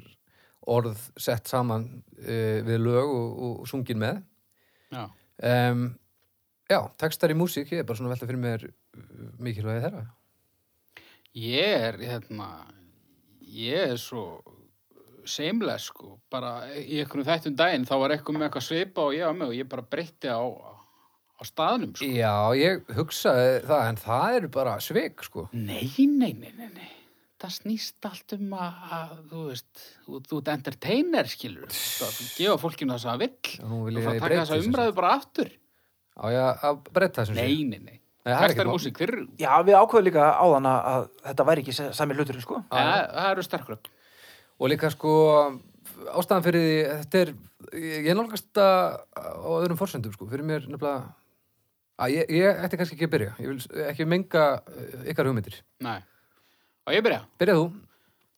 Speaker 3: orð sett saman uh, við lög og, og sungin með
Speaker 1: já,
Speaker 3: um, já, textar í músík ég er bara svona að velta fyrir mér eh, mikilvægi þeirra
Speaker 1: ég er, hérna, ég er svo seimlega, sko, bara í einhvern þættum daginn, þá var eitthvað með eitthvað svipa og ég var með og ég bara breytti á, á staðnum, sko.
Speaker 3: já, ég hugsaði það en það eru bara svik sko
Speaker 1: Nei, nei, nei, nei, nei. Það snýst allt um að, að þú veist, þú, þú ert entertainer, skilur. Það gefa fólkinu það sem það vill.
Speaker 3: Já, nú vil
Speaker 1: Þú
Speaker 3: ég
Speaker 1: fara að
Speaker 3: að ég
Speaker 1: taka
Speaker 3: breyti
Speaker 1: þessa
Speaker 3: þessu.
Speaker 1: umræðu bara aftur.
Speaker 3: á ég að breyta þessum
Speaker 1: Nei, nei, nei.
Speaker 3: Nei, það er
Speaker 1: Textar
Speaker 3: ekki
Speaker 1: í
Speaker 3: mál.
Speaker 1: músík, þeir eru,
Speaker 2: já, við ákveðum líka áðan að- að þetta væri ekki sa- sami hluturinn, sko.
Speaker 3: Já, já.
Speaker 1: það það eru sterkur öll.
Speaker 3: og líka sko ástæðan fyrir því, þetta er ég ég nálgast þetta á öðrum forsendum sko, fyrir mér nefnilega að ég, ég ætti kannski ekki að byrja ég vil ekki menga eh, ykkar hugmyndir
Speaker 1: Nei. Og ég byrja.
Speaker 3: byrja þú,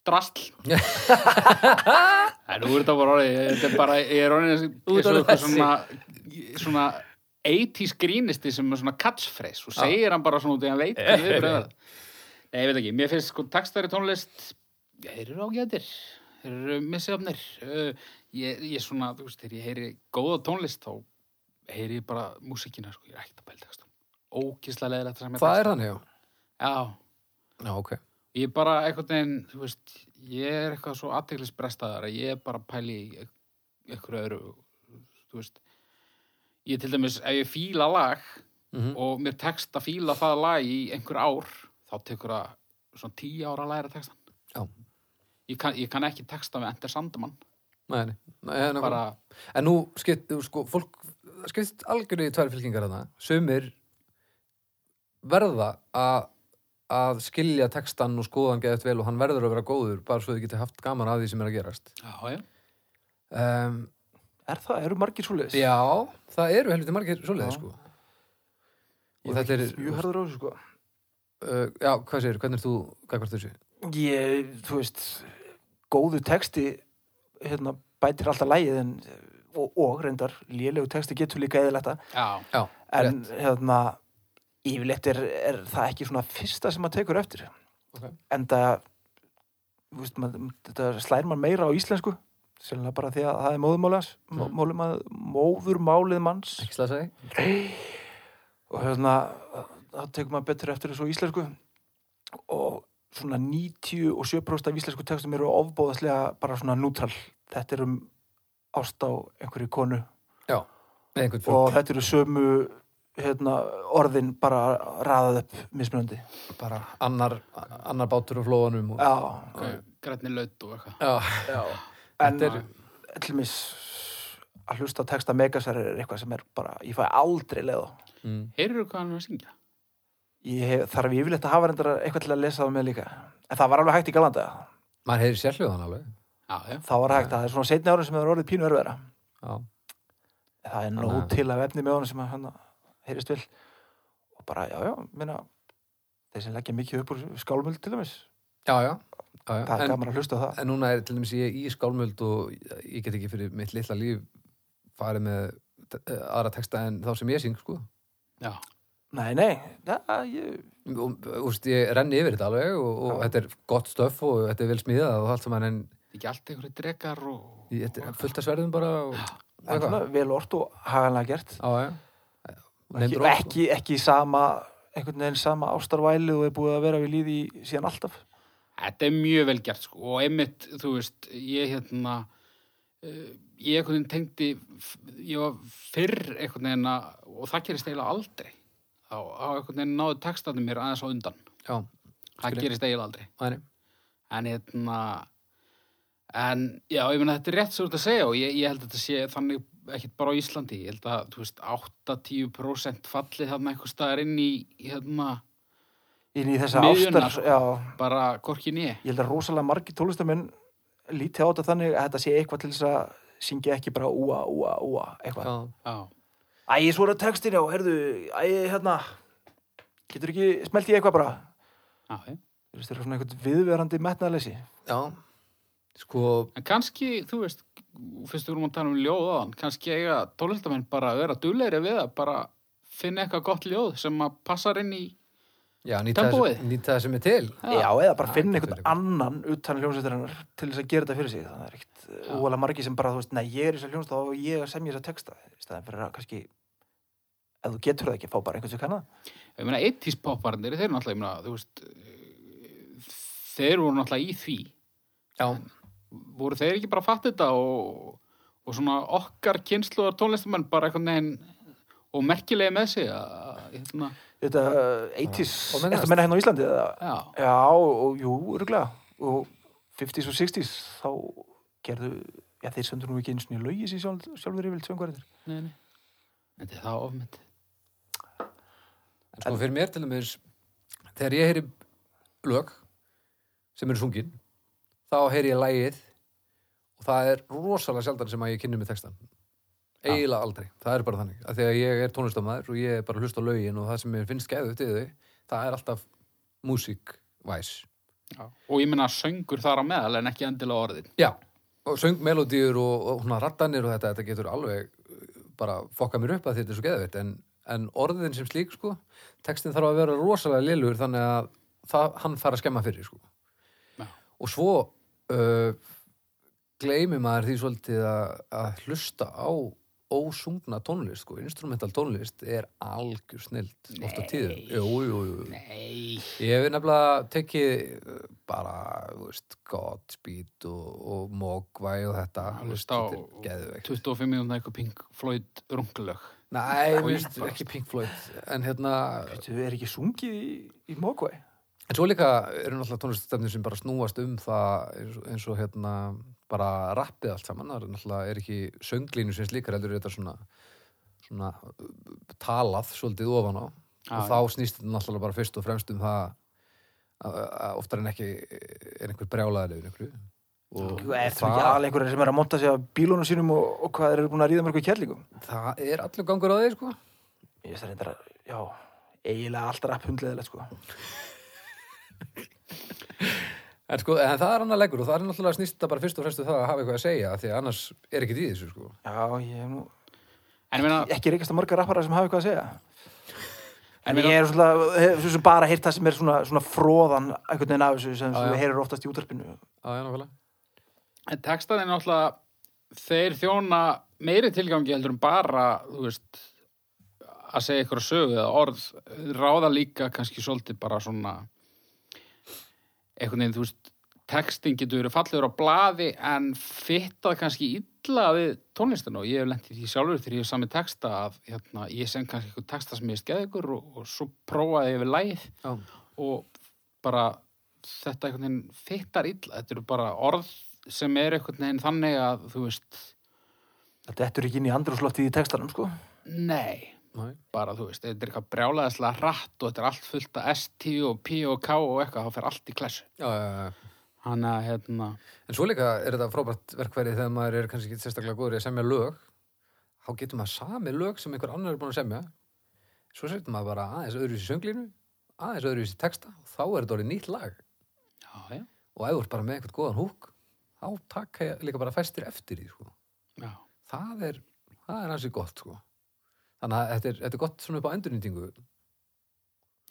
Speaker 1: Drastl. Það er úr þetta bara orðið. Þetta er bara, ég er orðið
Speaker 3: Þú ert
Speaker 1: eins og
Speaker 3: orðinn
Speaker 1: eitthvað svona, svona 80s grínisti sem er svona catchphrase og segir hann bara svona út í að hann veit hvað við bröðað. Nei, ég veit ekki. Mér finnst sko textar í tónlist, þeir eru ágætir, þeir eru missefnir. Uh, ég, ég svona, þú veist, þegar ég heyri góða tónlist þá heyri ég bara músikina, sko, ég er ekkert að pæla textum. Ókislega leðilegt sem ég
Speaker 3: það er þannig já,
Speaker 1: Já,
Speaker 3: já ok
Speaker 1: Ég er bara eitthvað neginn, þú veist, ég er eitthvað svo aðteglisbrestaðar að ég er bara að pæli í eitthvað öðru, þú veist. Ég til dæmis, ef ég fíla lag
Speaker 3: Mhm.
Speaker 1: og mér tekst að fíla það lag í einhver ár, þá tekur það svona tíu ára að læra textan.
Speaker 3: Já.
Speaker 1: Ég kann, ég kann ekki texta með Ender Sandman,
Speaker 3: Nei, nei. Nei, en,
Speaker 1: bara,
Speaker 3: en nú skipt, þú sko, fólk það skipst algjörðu í tvær fylkingar þarna sumir verða að að skilja textan og skoðan geðast vel og hann verður að vera góður bara svo þið geti haft gaman að því sem er að gerast
Speaker 1: já, já,
Speaker 3: um,
Speaker 2: Er það, eru margir svoleiðis?
Speaker 3: Já, það eru helviti margir svoleiði
Speaker 2: Já.
Speaker 3: sko
Speaker 2: Ég
Speaker 3: Og þetta er
Speaker 2: ekkert Mjög harður á þessu, sko.
Speaker 3: uh, Já, hvað segir, hvernig er þú gagvart þessu?
Speaker 2: Ég, þú veist, góðu texti, hérna, bætir alltaf lægið en, og, og reyndar, lélegu texti getur líka eða letta.
Speaker 1: já,
Speaker 3: Já,
Speaker 2: En, hérna, yfirleitt er, er það ekki svona fyrsta sem maður tekur eftir.
Speaker 3: Ok.
Speaker 2: En það, þú veist, maður, þetta slær maður meira á íslensku, sérlega bara því að það er móðumálans,
Speaker 3: Mm.
Speaker 2: mm. móðurmálið manns.
Speaker 3: ekki slæða segi
Speaker 2: og hérna það tekur maður betur eftir þessu á íslensku og svona 97% af íslensku textum eru ofbóðaslega bara svona nútral þetta er um ást á einhverju konu
Speaker 3: Já, eða einhvern
Speaker 2: og
Speaker 3: fólk
Speaker 2: þetta eru sömu hérna, orðin bara raðað upp mismunandi
Speaker 3: bara annar, annar bátur á flóanum og...
Speaker 2: já,
Speaker 1: okay. grænni laut og eitthvað.
Speaker 3: Já,
Speaker 2: já. en
Speaker 3: Þetta er-
Speaker 2: til mis að hlusta á texta Megasar er eitthvað sem er bara ég fæ aldrei leið á
Speaker 3: mm.
Speaker 1: Heyrðu hvað hann er að syngja?
Speaker 2: ég hef, þarf yfirleitt að hafa reyndar eitthvað til að lesa það með líka en það var alveg hægt í galanda
Speaker 3: maður heyrir sérhljóðan alveg
Speaker 1: Já, já,
Speaker 2: þá var hægt að það er svona setni ára sem það er orðið pínu örfæra
Speaker 3: Já,
Speaker 2: það er nóg
Speaker 3: Þannig að-
Speaker 2: til af efni með honum sem hann heyrist vil og bara, já, já, minna þeir sem leggja mikið upp úr skálmöld til dæmis
Speaker 3: já, já, já, já.
Speaker 2: það er
Speaker 3: En,
Speaker 2: gaman að hlusta á það
Speaker 3: en núna er til dæmis ég í skálmöld og ég get ekki fyrir mitt litla líf farið með eh, aðra texta en þá sem ég syng sko
Speaker 1: já,
Speaker 2: nei, nei, ja, ég,
Speaker 3: og úst, ég renni yfir þetta alveg og, og
Speaker 2: Já.
Speaker 3: þetta er gott stöf og þetta er vel smíðað og allt saman en
Speaker 1: ekki allt einhverju drekar og...
Speaker 3: Í- Þetta er fullt af sverðum bara og, og
Speaker 2: en svona
Speaker 3: eitthvað.
Speaker 2: vel orðt og haganlega gert
Speaker 3: Já, já.
Speaker 2: ekki,
Speaker 3: Neymdrop, sko.
Speaker 2: ekki, ekki sama einhvern veginn sama ástarvæli og er búið að vera við líði í síðan alltaf
Speaker 1: Þetta er mjög vel gert sko og einmitt, þú veist, ég hérna eh, ég einhvern veginn tengdi ég var fyrr einhvern veginn að, og það gerist eiginlega aldrei þá á einhvern veginn náðu textandi mér aðeins á undan,
Speaker 3: Já,
Speaker 1: það
Speaker 3: Skilja.
Speaker 1: gerist eiginlega aldrei
Speaker 3: mæni.
Speaker 1: en hérna en já, ég meina þetta er rétt svo þetta að segja og ég, ég held að þetta sé þannig ekkert bara á Íslandi, ég held að, þú veist, 8-10% falli þarna eitthvað staðar inn í, hérna,
Speaker 2: inn í þessa
Speaker 1: Miðjuna,
Speaker 2: ástar
Speaker 1: sko.
Speaker 2: já,
Speaker 1: bara korki nýja.
Speaker 2: ég held að rosalega margir tólestamenn lítið á þetta þannig að þetta sé eitthvað til þess að syngja ekki bara úa, úa, úa eitthvað.
Speaker 3: já,
Speaker 1: Já,
Speaker 2: Æ, svo er að textin já, heyrðu, æ, hérna getur ekki smelt í eitthvað bara
Speaker 1: já, já.
Speaker 2: Þú veist, það er svona eitthvað viðverandi metnaðleysi
Speaker 3: já. sko,
Speaker 1: En kannski, þú veist, fyrst við vorum að tala um ljóð áðan, kannski eiga tólestamenn bara að vera duglegri við það, bara finna eitthvað gott ljóð sem að passar inn í,
Speaker 3: já, nýta
Speaker 1: Tempóið.
Speaker 3: þessu, nýta þessu með til
Speaker 1: Já.
Speaker 2: Já, eða bara
Speaker 3: Já,
Speaker 2: finna
Speaker 3: þetta er
Speaker 2: einhvern
Speaker 3: eitthvað.
Speaker 2: annan utan hljómsveitarinnar til þess að gera þetta fyrir sig. Það er ekkit
Speaker 1: Já.
Speaker 2: óalega margi sem bara, þú veist, nei, ég er í þess að hljómsveit og ég er að semja þess að texta. Í staðan fyrir að kannski, ef þú getur það ekki, fá bara einhvern sem kann það.
Speaker 1: ég meina, 80s popparnir, þeir eru náttúrulega, ég meina, þú veist, þeir voru náttúrulega í því.
Speaker 3: já,
Speaker 1: Voru þeir ekki bara að fatta þetta og, og svona okkar kynsluðar tónlistamenn bara eitthvað neginn og merkilegi með sig að, hérna,
Speaker 2: Þetta uh, 80s,
Speaker 3: Og
Speaker 2: eftir
Speaker 3: mennast.
Speaker 2: að menna hérna á Íslandi, eða?
Speaker 1: já,
Speaker 2: Já, og jú, örgulega. Og 50s og 60s, þá gerðu, já, þeir söndur nú ekki eins og nýja lögi sér sjálf, sjálfur yfir tvöngvarindir.
Speaker 1: neini. Þetta er það ofmynd.
Speaker 3: en sko fyrir mér til dæmis þegar ég heyri lög sem eru sungin þá heyri ég lægið og það er rosalega sjaldan sem að ég kynni með textan eiginlega aldrei, það er bara þannig að þegar ég er tónlistamæður og ég er bara að hlusta á lögin og það sem mér finnst gæðu til þau það er alltaf músíkvæs
Speaker 1: Já. Og ég meina söngur þar á meðal en ekki endilega orðin.
Speaker 3: Já, og söngmelodíur og, og svona rattanir og þetta, þetta getur alveg uh, bara fokka mér upp að þetta er svo geðveitt en, en orðin sem slík, sko textin þarf að vera rosalega lilugur þannig að það, hann fara að skemma fyrir, sko
Speaker 1: Já.
Speaker 3: og svo uh, gleymi maður því svolítið að, að hlusta á ósungna tónlist, sko, instrumental tónlist er algjör snilt oft á tíðum, jú, jú, jú
Speaker 1: Nei.
Speaker 3: Ég hef nefnilega tekið uh, bara, þú veist, Godspeed og, og Mogwai og þetta.
Speaker 1: Já,
Speaker 3: þú veist,
Speaker 1: hlusta á-
Speaker 3: þetta er Geðveikt.
Speaker 1: 25 mínúna eitthvað Pink Floyd runglög.
Speaker 3: Nei, þú veist,
Speaker 1: bara-
Speaker 3: ekki Pink Floyd. En hérna,
Speaker 2: Þú er ekki sungið í, í Mogwai?
Speaker 3: en svo líka eru náttúrulega tónlistastefnir sem bara snúast um það eins og, eins og hérna bara rappið allt saman. Það er náttúrulega er ekki sönglínu sem slíkar, heldur er þetta svona, svona uh, talað svolítið ofan á. og þá snýst þetta náttúrulega bara fyrst og fremst um það að, að oftar en ekki er einhver brjálaðið yfir einhverju og,
Speaker 2: Þú ert þú ekki alveg einhverjar sem er að monta sig af bílunum sínum og, og hvað þeir eru búin að ríða mörgum kjærlingum?
Speaker 3: það er allur gangur á þeir sko
Speaker 2: Ég veist það reyndar að, já, eiginlega allt rapp hundleðilegt, sko.
Speaker 3: en sko, en það er annar leggur og það er náttúrulega snýst þetta bara fyrst og fremst um það að hafa eitthvað að segja af því að annars er ekki í þessu sko
Speaker 2: Já, ég hef nú
Speaker 1: En ég meina,
Speaker 2: ekki reykast að marga rappara sem hafa eitthvað að segja.
Speaker 1: En
Speaker 2: En
Speaker 1: meina-
Speaker 2: ég er svona, hef, svona bara heyrt það sem er svona, svona fróðan einhvern veginn af þessu sem
Speaker 3: Já,
Speaker 2: þú
Speaker 3: já.
Speaker 2: heyrir oftast í útarpinu.
Speaker 3: já, já, nákvæmlega
Speaker 1: en textan er náttúrulega þeir þjóna meiri tilgangi heldur en bara, þú veist, að segja ykkur sögu eða orð ráða líka kannski svolítið bara svona einhvern veginn, þú veist, textin getur verið fallegur á blaði en fittað kannski illa við tónlistin og ég hef lent í því sjálfur þegar ég hef sami texta að hérna, ég sem kannski ykkur texta sem ég skeði ykkur og, og svo prófaði ég yfir lægið
Speaker 3: já,
Speaker 1: og bara þetta einhvern veginn fittar illa þetta eru bara orð sem er einhvern veginn þannig að þú veist
Speaker 2: Þetta ettur ekki inn í andrúsloftið í textanum, sko.
Speaker 1: nei,
Speaker 3: næ,
Speaker 1: bara þú veist þetta er eitthvað brjálæðislega rætt og þetta er allt fullt af ST og P og K og eitthvað þá fer allt í klessu
Speaker 3: já, já, já
Speaker 1: hann að hérna
Speaker 3: en svo líka er þetta frábært verkfærið þegar maður er kannski ekki sérstaklega góður í að semja lög þá getur maður sami lög sem einhver annar er búin að semja svo setur maður bara aðeins öðruvísi sönglínu aðeins öðruvísi texta og þá er þetta orðið nýtt lag
Speaker 1: já, já,
Speaker 3: og ef þú ert bara með eitthvað góðan húk þá taka ég líka bara fæstir eftir því sko.
Speaker 1: já,
Speaker 3: það er það er hansi gott sko. þannig að þetta er, þetta er gott svona upp á endurnýtingu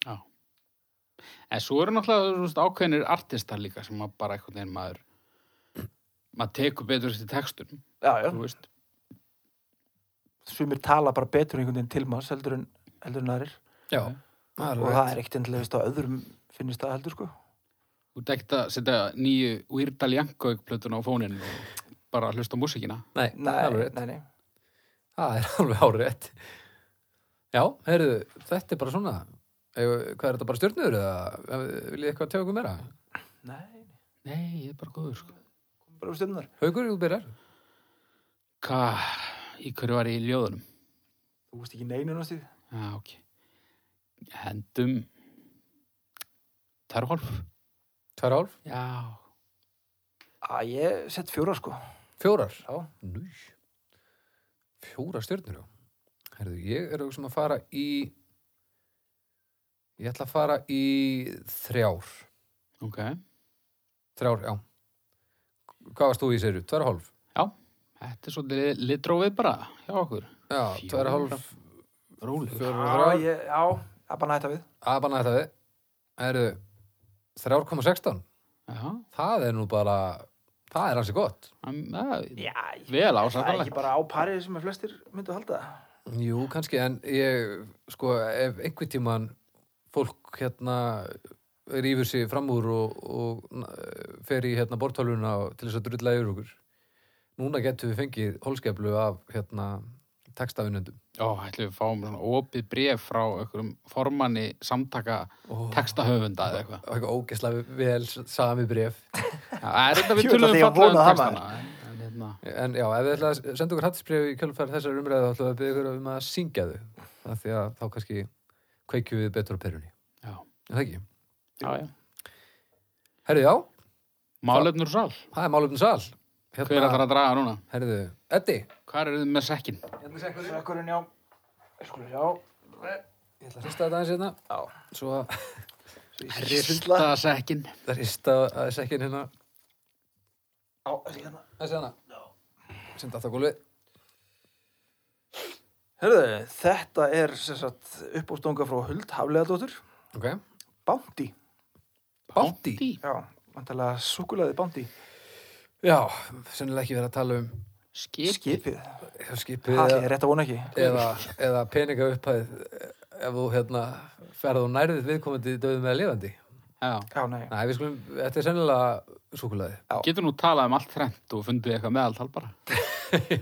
Speaker 1: já. en svo eru náttúrulega þú veist, ákveðnir artistar líka sem að bara einhvern veginn maður maður tekur betur þessi textunum
Speaker 2: Já, já.
Speaker 1: þú veist
Speaker 2: Sumir tala bara betur einhvern veginn til maður heldur en, heldur en aðrir.
Speaker 3: já,
Speaker 1: Ok.
Speaker 3: það
Speaker 2: Og
Speaker 3: er alveg
Speaker 2: það
Speaker 3: rétt.
Speaker 2: er ekkert endilega veist á öðrum finnist það heldur, sko.
Speaker 1: Þú ert ekkert að setja nýju Weirdal Jankovík plötun á fónin og bara hlusta á músikina.
Speaker 3: nei,
Speaker 2: Nei,
Speaker 3: það er alveg rétt.
Speaker 2: nei, nei.
Speaker 3: það er alveg árétt já, heyrðu, þetta er bara svona Eigum- hvað er þetta bara stjörnur eða viljið eitthvað tega okkur meira
Speaker 2: Nei,
Speaker 1: Nei, ég er bara góður, sko.
Speaker 2: bara um stundunar.
Speaker 3: haugur, þú byrjar
Speaker 1: Hvað, í hverju var ég í ljóðunum?
Speaker 2: Þú veist ekki neinu náttúrulega.
Speaker 1: Já, ok. Hendum Terholf.
Speaker 3: Tvær hálf?
Speaker 1: Já.
Speaker 2: Að ég sett fjóra sko.
Speaker 3: Fjórar?
Speaker 2: Já.
Speaker 3: Nú. Fjórar stjörnur, já. Herðu, ég er auðvitað að fara í... Ég ætla að fara í þrjár.
Speaker 1: Ok.
Speaker 3: Þrjár, já. Hvað varst þú í séru? Tvær og hálf?
Speaker 1: Þetta er svolítið litrófið bara hjá okkur.
Speaker 3: Já, tvær og
Speaker 1: Fjórar.
Speaker 3: hálf.
Speaker 1: Rólegur.
Speaker 3: Fjórar og
Speaker 2: Já,
Speaker 3: þrjár.
Speaker 2: ég, já, það er bara næta við.
Speaker 3: Abana þetta við. Herðu, 3,16.
Speaker 1: Já,
Speaker 3: Það er nú bara... Það er hansi gott.
Speaker 1: hann- það er
Speaker 2: Já, ég,
Speaker 1: vel
Speaker 2: það er
Speaker 1: ásakalegt.
Speaker 2: ekki bara á parið sem að flestir myndu halda.
Speaker 3: Jú, kannski, en ég, sko, ef einhvern tíman fólk hérna rýfur sig fram úr og, og eh, fer í hérna bortáluna og- til þess að drulla yfir okkur. Núna getum við fengið holskeflu af hérna textaunendum.
Speaker 1: Ó, ætlum við fáum svona opið bref frá einhverjum formanni samtaka
Speaker 3: Oh.
Speaker 1: textahöfunda eða eitthvað.
Speaker 3: Og eitthvað ógesla vel sami bref.
Speaker 1: Það er þetta við
Speaker 2: Jú,
Speaker 1: tölum
Speaker 2: ætla ég að
Speaker 1: fallega um
Speaker 2: vona það,
Speaker 1: textana. En, en, hérna,
Speaker 3: En já, ef við ætla að senda okkur hattisbref í kjálfæri þessar umræðu, þá ætlum við að byggja ykkur um að syngja þau. Það því að þá kannski kveikjum við betur á perunni.
Speaker 1: já,
Speaker 3: Er Það ekki.
Speaker 1: já, já.
Speaker 3: Herðu, já,
Speaker 1: Málefnur úr sál.
Speaker 3: það er málefnum sal. Hérna,
Speaker 1: Hver er það að draga núna?
Speaker 3: Herðu, Eddi,
Speaker 1: Hvað eru þið með sekkin?
Speaker 2: Sökkurinn, já. Skulum sjá. Ég ætla að
Speaker 3: hrista þetta aðeins hérna
Speaker 2: Já.
Speaker 3: Svo að
Speaker 2: Ég
Speaker 1: Rista sekkin.
Speaker 3: það hrista aðeins ekki hérna
Speaker 2: Já, þessi hérna.
Speaker 3: Þessi hérna Sem datt á gólfið
Speaker 2: Hörðu, þetta er sem sagt uppástunga frá Huld Hafleðadóttur.
Speaker 3: Ok
Speaker 2: Bándi.
Speaker 3: Bounty.
Speaker 2: Já, vantalega súkulaði bándi.
Speaker 3: Já, sennilega ekki verið að tala um
Speaker 1: Skip.
Speaker 2: Skipið.
Speaker 3: ef skipið
Speaker 2: Það
Speaker 3: eða,
Speaker 2: er rétt að um vona ekki.
Speaker 3: eða, eða peninga upphæð ef þú hérna ferð og nærðið viðkomandi döðum eða lifandi
Speaker 1: Já.
Speaker 2: Já, nei.
Speaker 3: Nei, við skulum, þetta er sennilega súkulaði
Speaker 1: Getur nú talað um allt þrennt og fundið eitthvað meðaltal bara.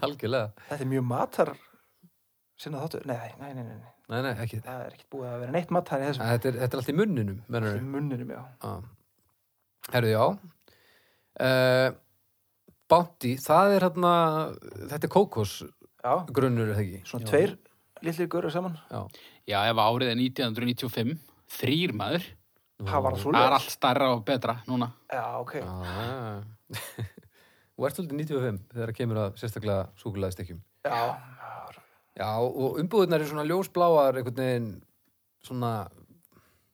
Speaker 3: Algjörlega
Speaker 2: Þetta er mjög matar sinna þáttu. Nei, nei, nei, nei, nei.
Speaker 3: Nei, nei, ekki
Speaker 2: Það er ekkert búið að vera neitt matar í
Speaker 3: Æ,
Speaker 2: þessum.
Speaker 3: Þetta er, þetta er allt í munninum, mennur
Speaker 2: Í munninum, já.
Speaker 3: Já. Herðu, já. Uh, Bounty, það er hérna, þetta er
Speaker 2: Já,
Speaker 3: kókosgrunnur, er það ekki?
Speaker 2: svona
Speaker 1: Já.
Speaker 2: tveir lillir görur saman.
Speaker 3: Já.
Speaker 1: Já, ef árið er 1995, þrýr maður,
Speaker 2: Það var það
Speaker 1: það er
Speaker 2: svoleiðis.
Speaker 1: allt starra og betra núna.
Speaker 2: Já, ok.
Speaker 3: Já. Þú ert svolítið 95 þegar það kemur að sérstaklega súkulæðistekkjum.
Speaker 2: Já,
Speaker 3: Já, og umbúðunar eru svona ljósbláar einhvern veginn svona,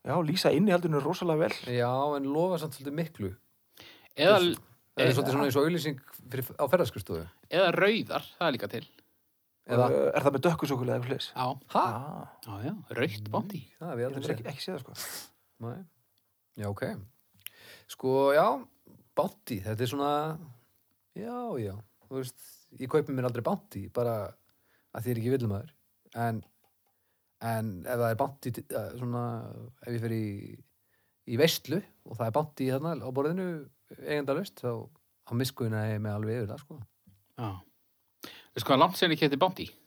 Speaker 2: já lýsa innihaldinu rosalega vel.
Speaker 3: já, en lofa samt svolítið miklu.
Speaker 1: Eða,
Speaker 3: Það
Speaker 1: Eh,
Speaker 3: er svolítið svona eins og auðlýsing fyrir, á ferðarskristofu.
Speaker 1: eða rauðar, það er líka til.
Speaker 3: Eða,
Speaker 2: Uh, Er það með dökkusúkulega eða flis?
Speaker 1: Já, Mm.
Speaker 3: hæ?
Speaker 2: Ah,
Speaker 1: já, já, rauðt bóndi.
Speaker 3: Það er við
Speaker 2: ég hef
Speaker 3: aldrei
Speaker 2: ekki,
Speaker 3: séð.
Speaker 2: ekki séð það sko.
Speaker 3: Nei. Já, ok. Sko, já, bánti, þetta er svona, já, já, þú veist, ég kaupi mér aldrei bánti, bara að því er ekki villumæður. En, en ef það er bánti, svona, ef ég fer í, í veistlu og það er bánti þarna á borðinu eigendalaust, þá, þá miskuðina ég með alveg yfir það, sko.
Speaker 1: Já. Veistu hvað er langt sér ég keti bóndi?
Speaker 3: Með,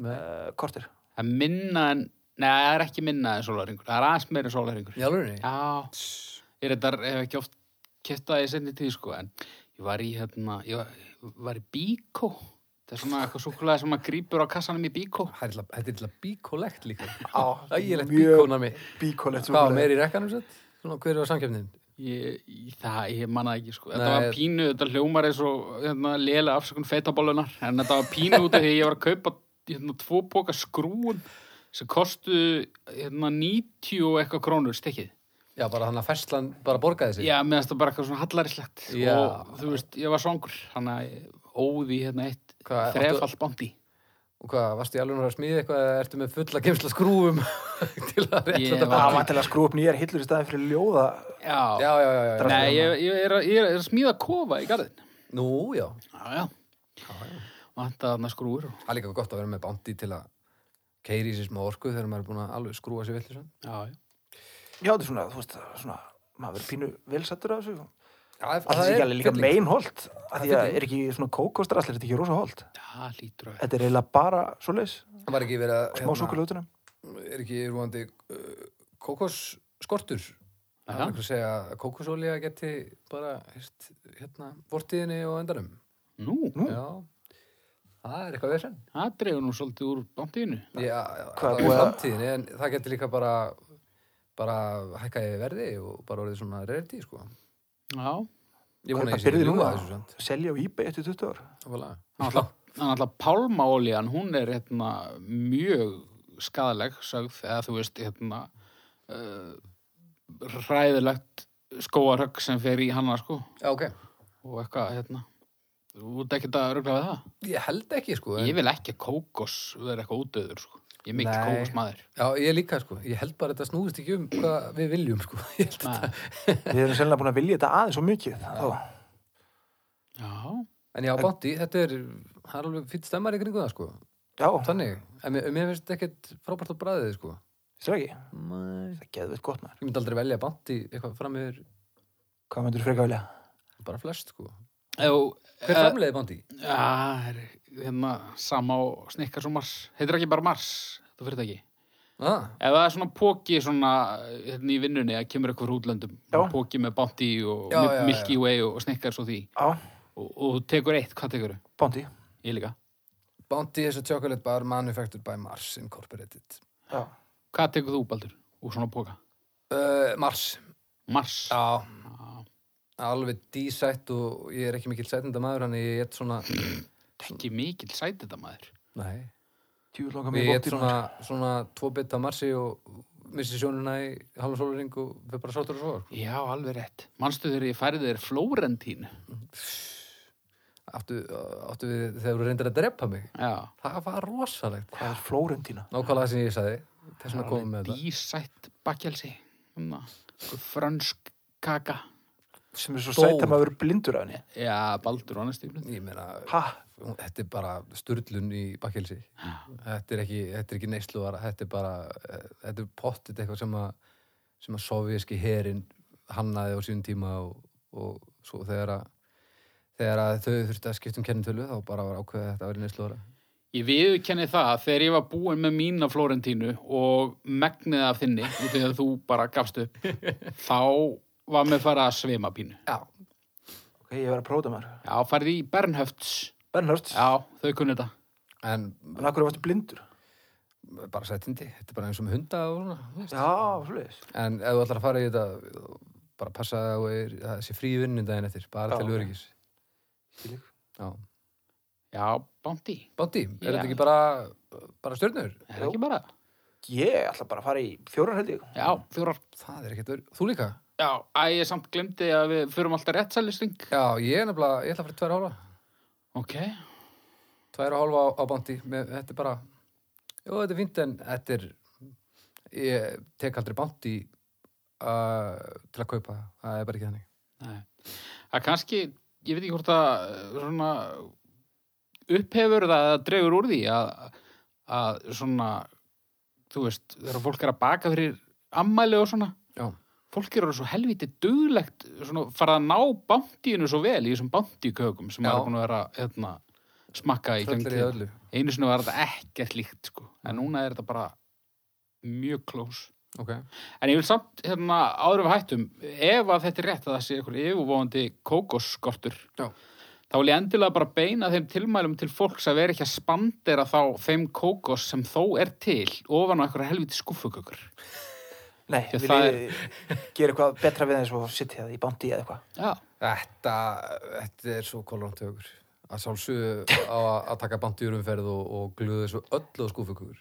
Speaker 2: Uh, kortir.
Speaker 1: Það er minna en, neða, það er ekki minna en sólarringur, það er aðeins meira en sólarringur.
Speaker 3: í alveg,
Speaker 1: Já, ég reyndar hef ekki oft kæft það í seinni tíð sko en ég var í hérna ég var, var í bíkó það er svona eitthvað súkulega sem maður grípur á kassanum í bíkó
Speaker 3: þetta er eitthvað bíkolegt líka.
Speaker 2: Á,
Speaker 3: Ægilegt
Speaker 2: mjög
Speaker 3: bíkonami.
Speaker 2: bíkolegt
Speaker 3: Hvað var
Speaker 2: súkulega.
Speaker 3: meir í rekkanum sett? Svona, hver var samkjöfnin?
Speaker 1: ég, ég- það, ég manna ekki sko þetta
Speaker 3: Nei.
Speaker 1: var pínu, þetta hljómar eins og hérna, lélega afsökun feitabólunar en þetta var pínu út af því að ég var að kaupa hérna, tvo póka skrúum sem kostuðu hérna, 90 og eitthvað krónur stikkið
Speaker 3: Já, bara þannig að ferslan bara borgaði sig.
Speaker 1: já, meðan þetta bara eitthvað svona hallarislegt
Speaker 3: Já.
Speaker 1: og þú veist, ég var svangur þannig að ég óði hérna eitt
Speaker 3: Hvað,
Speaker 1: þrefald bóndi
Speaker 3: Og hvað, varstu í alveg að smíða eitthvað eða ertu með fulla gemsla skrúfum til að rétta
Speaker 1: Ég
Speaker 3: þetta
Speaker 1: var-
Speaker 2: Það
Speaker 3: bara?
Speaker 2: var til að skrú upp nýjar hillur í staðin fyrir ljóða.
Speaker 1: já,
Speaker 3: Já, já, já, já.
Speaker 1: Nei, ég, ég, er að, ég er að smíða kofa í garðin.
Speaker 3: Nú, já.
Speaker 1: Já, já. Vanta þarna skrúur. og-
Speaker 3: Það er líka gott að vera með bandi til að keiri í sér smá orku þegar maður er búin að alveg skrúa sér vill.
Speaker 1: Já, já.
Speaker 2: Já, þetta er svona, þú veist, svona, maður verið pínu velsættur af þessu.
Speaker 3: Það,
Speaker 2: Það er ekki alveg líka meinholt. Það
Speaker 3: er
Speaker 2: er ekki svona kókóstraslir, þetta er ekki rosa holt.
Speaker 1: Það lítur að vera.
Speaker 2: Þetta er eiginlega bara svo leis,
Speaker 3: Það var ekki verið að... hérna,
Speaker 2: smá um. súkulega
Speaker 3: Er ekki rúandi uh, kókosskortur? Það er
Speaker 1: Já,
Speaker 3: ekki að segja að kókosolía geti
Speaker 1: Hm.
Speaker 3: bara, heist, hérna, vortiðinni og endanum.
Speaker 1: nú.
Speaker 2: Nú,
Speaker 3: Já. það er eitthvað vesen
Speaker 1: það dregur nú svolítið úr bántíðinu.
Speaker 3: Já,
Speaker 2: Hvað
Speaker 3: það
Speaker 2: búið
Speaker 3: er
Speaker 2: að-
Speaker 3: framtíðin en það getur líka bara bara hækkaði verði og bara orðið svona reyndi sko.
Speaker 1: Já,
Speaker 3: Ég vona
Speaker 2: Kaupa
Speaker 3: ekki
Speaker 2: byrði
Speaker 3: ljúga
Speaker 2: núna.
Speaker 3: þessu samt.
Speaker 2: Selja á eBay eftir 20 ár.
Speaker 3: Nákvæmlega.
Speaker 1: hann alltaf, hann alltaf pálmaolían, hún er hérna mjög skadaleg sögð, eða þú veist, hérna uh, ræðilegt skóarögg sem fer í hanna, sko,
Speaker 3: Já, ok.
Speaker 1: og eitthvað, hérna. Þú ert ekkert að rugla við það?
Speaker 3: Ég held ekki sko.
Speaker 1: Ég vil ekki að kókos vera eitthvað útöður, sko. Ég er mikill
Speaker 3: Nei.
Speaker 1: kókosmaður.
Speaker 3: Já, ég líka sko. Ég held bara að þetta snúist ekki um hvað við viljum sko. Ég held
Speaker 1: Nei.
Speaker 3: þetta.
Speaker 2: Við erum sennilega búin að vilja þetta aðeins og mikið. Þá,
Speaker 1: Já,
Speaker 3: En já, Bounty, þetta er, það er alveg fýtt stemmar í kringu það sko.
Speaker 2: já,
Speaker 3: Þannig, en mér, mér finnst ekkert frábært á bræðið sko.
Speaker 2: þetta ekki.
Speaker 3: Nei.
Speaker 2: Það getur við gott maður.
Speaker 3: Ég myndi aldrei velja Bounty eitthvað fram yfir
Speaker 2: Hvað myndur frekar vilja?
Speaker 3: bara flest sko.
Speaker 1: Ef-
Speaker 3: Hver
Speaker 1: eh,
Speaker 3: framleiði Bounty?
Speaker 1: Já, það er hérna sama og snikkar svo Mars. Heitir ekki bara Mars, þú fyrir ekki.
Speaker 3: Ah,
Speaker 1: Ef það er svona póki svona hérna í vinnunni að kemur eitthvað frá útlöndum.
Speaker 2: Já.
Speaker 1: Póki með Bounty og
Speaker 3: Já,
Speaker 1: Mil-
Speaker 3: já, já.
Speaker 1: Milky Way og snikkar svo því.
Speaker 2: Já,
Speaker 1: Og, og þú tekur eitt, hvað tekur þú?
Speaker 2: bóndi.
Speaker 1: Ég líka.
Speaker 3: Bounty is a chocolate bar manufactured by Mars Incorporated.
Speaker 2: Já.
Speaker 1: Hvað tekur þú, Baldur, úr svona póka?
Speaker 3: Uh, Mars.
Speaker 1: Mars.
Speaker 3: Já. Alveg dísætt og ég er ekki mikill sætinda maður, hann ég get svona...
Speaker 1: Ekki mikill sætið þetta maður.
Speaker 3: Nei.
Speaker 2: Tjúl langar
Speaker 3: Ég
Speaker 2: mér
Speaker 3: get
Speaker 2: bóndi. Svona...
Speaker 3: svona, svona tvo bita Marsi og missi sjónuna í halvan sólaring og við bara sáttur og svo.
Speaker 1: Já, alveg rétt. Manstu þegar ég færði þér Flórentín?
Speaker 3: Áttu, áttu við þegar þú reyndir að drepa mig.
Speaker 1: Já.
Speaker 3: Það var rosalegt.
Speaker 2: Hvað er Flórentína?
Speaker 3: Nákvæmlega það sem ég sagði. Þess vegna komum við með þetta.
Speaker 1: Dísætt bakkelsi. Svona, einhver Frönsk kaka.
Speaker 2: Sem er svo
Speaker 3: Stór.
Speaker 2: sætt að maður verður blindur af henni.
Speaker 1: Já, Baldur og annars stífnum.
Speaker 3: Ég meina,
Speaker 2: Ha?
Speaker 3: hún- þetta er bara sturlun í bakkelsi. Þetta er ekki, þetta er ekki neysluvar, þetta er bara, eh, þetta er pottit eitthvað sem að, sem að sovjíski herin hannaði á sínum tíma og, og svo þegar að, þegar að þau þurfti að skipta um kennitölu þá bara var ákveðið að þetta væri neysluvara.
Speaker 1: Ég viðurkenni það að þegar ég var búin með mína Florentínu og megnið af þinni, út af því að þú bara gafst upp, þá var mér farið að svima pínu.
Speaker 3: Já,
Speaker 2: Ok, ég verður að prófa það maður.
Speaker 1: Já, farið í Bernhöfts.
Speaker 2: Bernhard, ja.
Speaker 1: Já, þau kunni þetta.
Speaker 3: en
Speaker 2: en akkur varstu blindur?
Speaker 3: bara sættindi, þetta er bara eins og með hunda og svona, þú veist.
Speaker 2: Já, svoleiðis.
Speaker 3: En ef þú ætlar að fara í þetta, bara passa að þú er- það sé frí vinnu daginn eftir, bara
Speaker 2: Já,
Speaker 3: til
Speaker 2: ok.
Speaker 3: öryggis.
Speaker 2: Skilík.
Speaker 3: Já.
Speaker 1: Já, bándi.
Speaker 3: Bátti, er
Speaker 1: Já.
Speaker 3: þetta ekki bara, bara stjörnur?
Speaker 1: Er ekki bara?
Speaker 2: Ég ætla bara að fara í fjórar held ég.
Speaker 1: Já, fjórar.
Speaker 3: Það er ekkert, ör- þú líka?
Speaker 1: Já, að ég samt glemdi að við förum alltaf réttsælistring.
Speaker 3: Já, ég er nefnilega, ég ætla að fara í tvær hálfa.
Speaker 1: Ok.
Speaker 3: Tvær og hálfa á, á bátti, með, þetta er bara, jú, þetta er fínt en þetta er, ég tek aldrei bátti uh, til að kaupa, það. það er bara ekki þannig.
Speaker 1: Nei. Það kannski, ég veit ekki hvort að eh, svona, upphefur það eða dregur úr því að, að svona, þú veist, þegar fólk er að baka fyrir ammæli og svona,
Speaker 3: Já,
Speaker 1: fólk eru svo helviti duglegt svona, farað að ná bántíinu svo vel í þessum bántíkökum sem
Speaker 3: Já.
Speaker 1: maður er búin að vera hérna, smakka í
Speaker 3: tröllir í
Speaker 1: gangi.
Speaker 3: öllu.
Speaker 1: Einu sinni var þetta ekkert líkt, sko, en núna er þetta bara mjög klós.
Speaker 3: Ok,
Speaker 1: En ég vil samt, hérna, áður við hættum, ef að þetta er rétt að það sé eitthvað yfirvóðandi kókosskortur,
Speaker 3: Já.
Speaker 1: þá vil ég endilega bara beina þeim tilmælum til fólks að vera ekki að spandera þá þeim kókoss sem þó er til ofan á eitthvað helviti skúfukökur.
Speaker 2: Nei,
Speaker 1: Já,
Speaker 2: vil
Speaker 1: það
Speaker 2: ég gera eitthvað betra við eins og sitja það í bóndi eða eitthvað.
Speaker 1: Já.
Speaker 3: þetta, þetta er svo kollant högur. Að sjálfsögðu á að að taka bátti í umferð og, og gluðu þessu öllu á skúfukökur.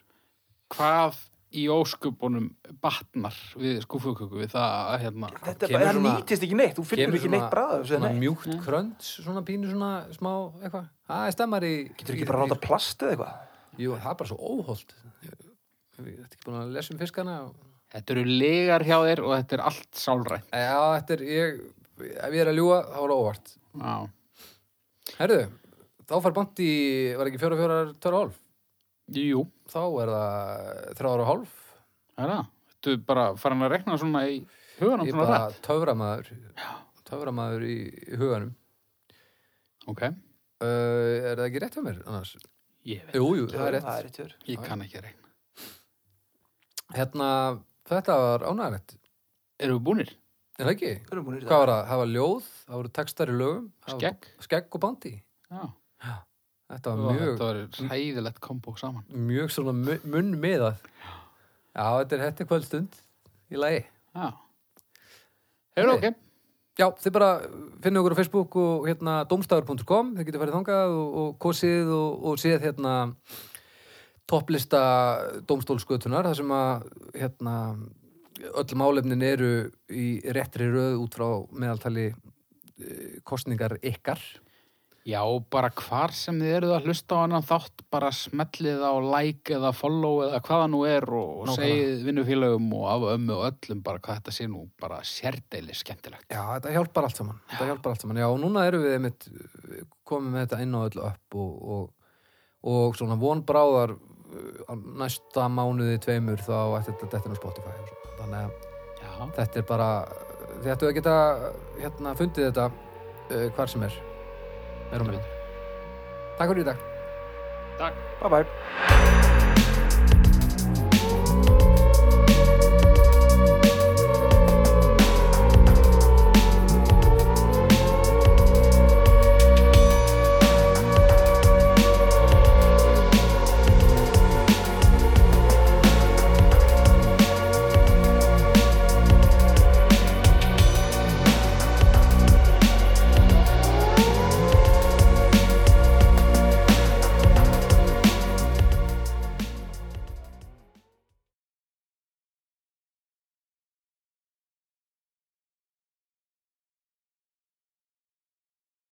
Speaker 1: Hvað í óskupunum batnar við skúfuköku við það að, hérna,
Speaker 2: Þetta er
Speaker 3: Kemur
Speaker 2: bara, það
Speaker 3: svona-
Speaker 2: nýtist ekki neitt, þú finnur ekki neitt bræða þessu,
Speaker 3: svona
Speaker 2: nei.
Speaker 3: mjúkt krönts, svona pínu, svona smá eitthvað. Það er stemmar í...
Speaker 2: Getur ekki bara að ráta plast eða eitthvað?
Speaker 3: Jú, það er bara svo óholt. Ég ég- þetta er ekki búin að lesa um fiskana. og-
Speaker 1: þetta eru legar hjá þér og þetta er allt sálrænt.
Speaker 3: Já, þetta er, ég, ef ég er að ljúga, þá er það óvart.
Speaker 1: Já.
Speaker 3: Herðu, þá fær bandi, var ekki fjóra, fjóra, tjóra hálf.
Speaker 1: Jú,
Speaker 3: Þá er það þrjára og hálf.
Speaker 1: það er það. Þetta er bara farin að rekna svona í huganum
Speaker 3: Ég er
Speaker 1: svona
Speaker 3: bara
Speaker 1: rætt.
Speaker 3: töframaður, töframaður í, í huganum.
Speaker 1: Ok,
Speaker 3: Uh, er það ekki rétt hjá mér annars?
Speaker 1: ég veit.
Speaker 3: Jú, jú, það er
Speaker 2: Það
Speaker 3: rétt.
Speaker 2: er rétt, hjá þér.
Speaker 1: Ég kann ekki að rekna.
Speaker 3: Hérna, þetta var ánægilegt.
Speaker 1: Erum við búinir?
Speaker 3: Er það ekki?
Speaker 2: Við erum búin í
Speaker 3: Hvað
Speaker 2: þetta.
Speaker 3: var það? Það var ljóð, það voru textar í lögum. það voru-
Speaker 1: Skegg?
Speaker 3: Skegg og bandi.
Speaker 1: Já.
Speaker 3: Þetta var
Speaker 1: Mjög...
Speaker 3: mjög,
Speaker 1: Þetta var hæðilegt kombo saman.
Speaker 3: mjög svona mu- munnmiðað. Já, þetta er hætti kvöldstund í lagi.
Speaker 1: Já. Hefur
Speaker 3: Nei.
Speaker 1: ok.
Speaker 3: Já, þið bara finnum okkur á Facebook og hérna domstafur.com, þið getur farið þangað og, og kosið og, og séð hérna topplista domstólskötunar, þar sem að hérna öll málefnin eru í réttri röð út frá meðaltali eh, kosningar ykkar.
Speaker 1: Já, bara hvar sem þið eruð að hlusta á annan þátt, bara smellið á like eða follow eða hvað það nú er og, og
Speaker 3: Nákvæmlega.
Speaker 1: segið vinnufélögum og af ömmu og öllum bara hvað þetta sé nú bara sérdeilis skemmtilegt.
Speaker 3: Já, þetta hjálpar allt saman. Þetta hjálpar allt saman. Já, og núna erum við einmitt eh, komið með þetta inn á öll upp og, og, og svona vonbráðar eh, á næsta mánuði tveimur þá ætti þetta dettin á Spotify. og svona. Þannig að
Speaker 1: Já,
Speaker 3: þetta er bara, þið ættu að geta hérna fundið þetta uh, hvar sem er. Meir og minna. Takk fyrir í dag.
Speaker 1: takk.
Speaker 2: Bye bye.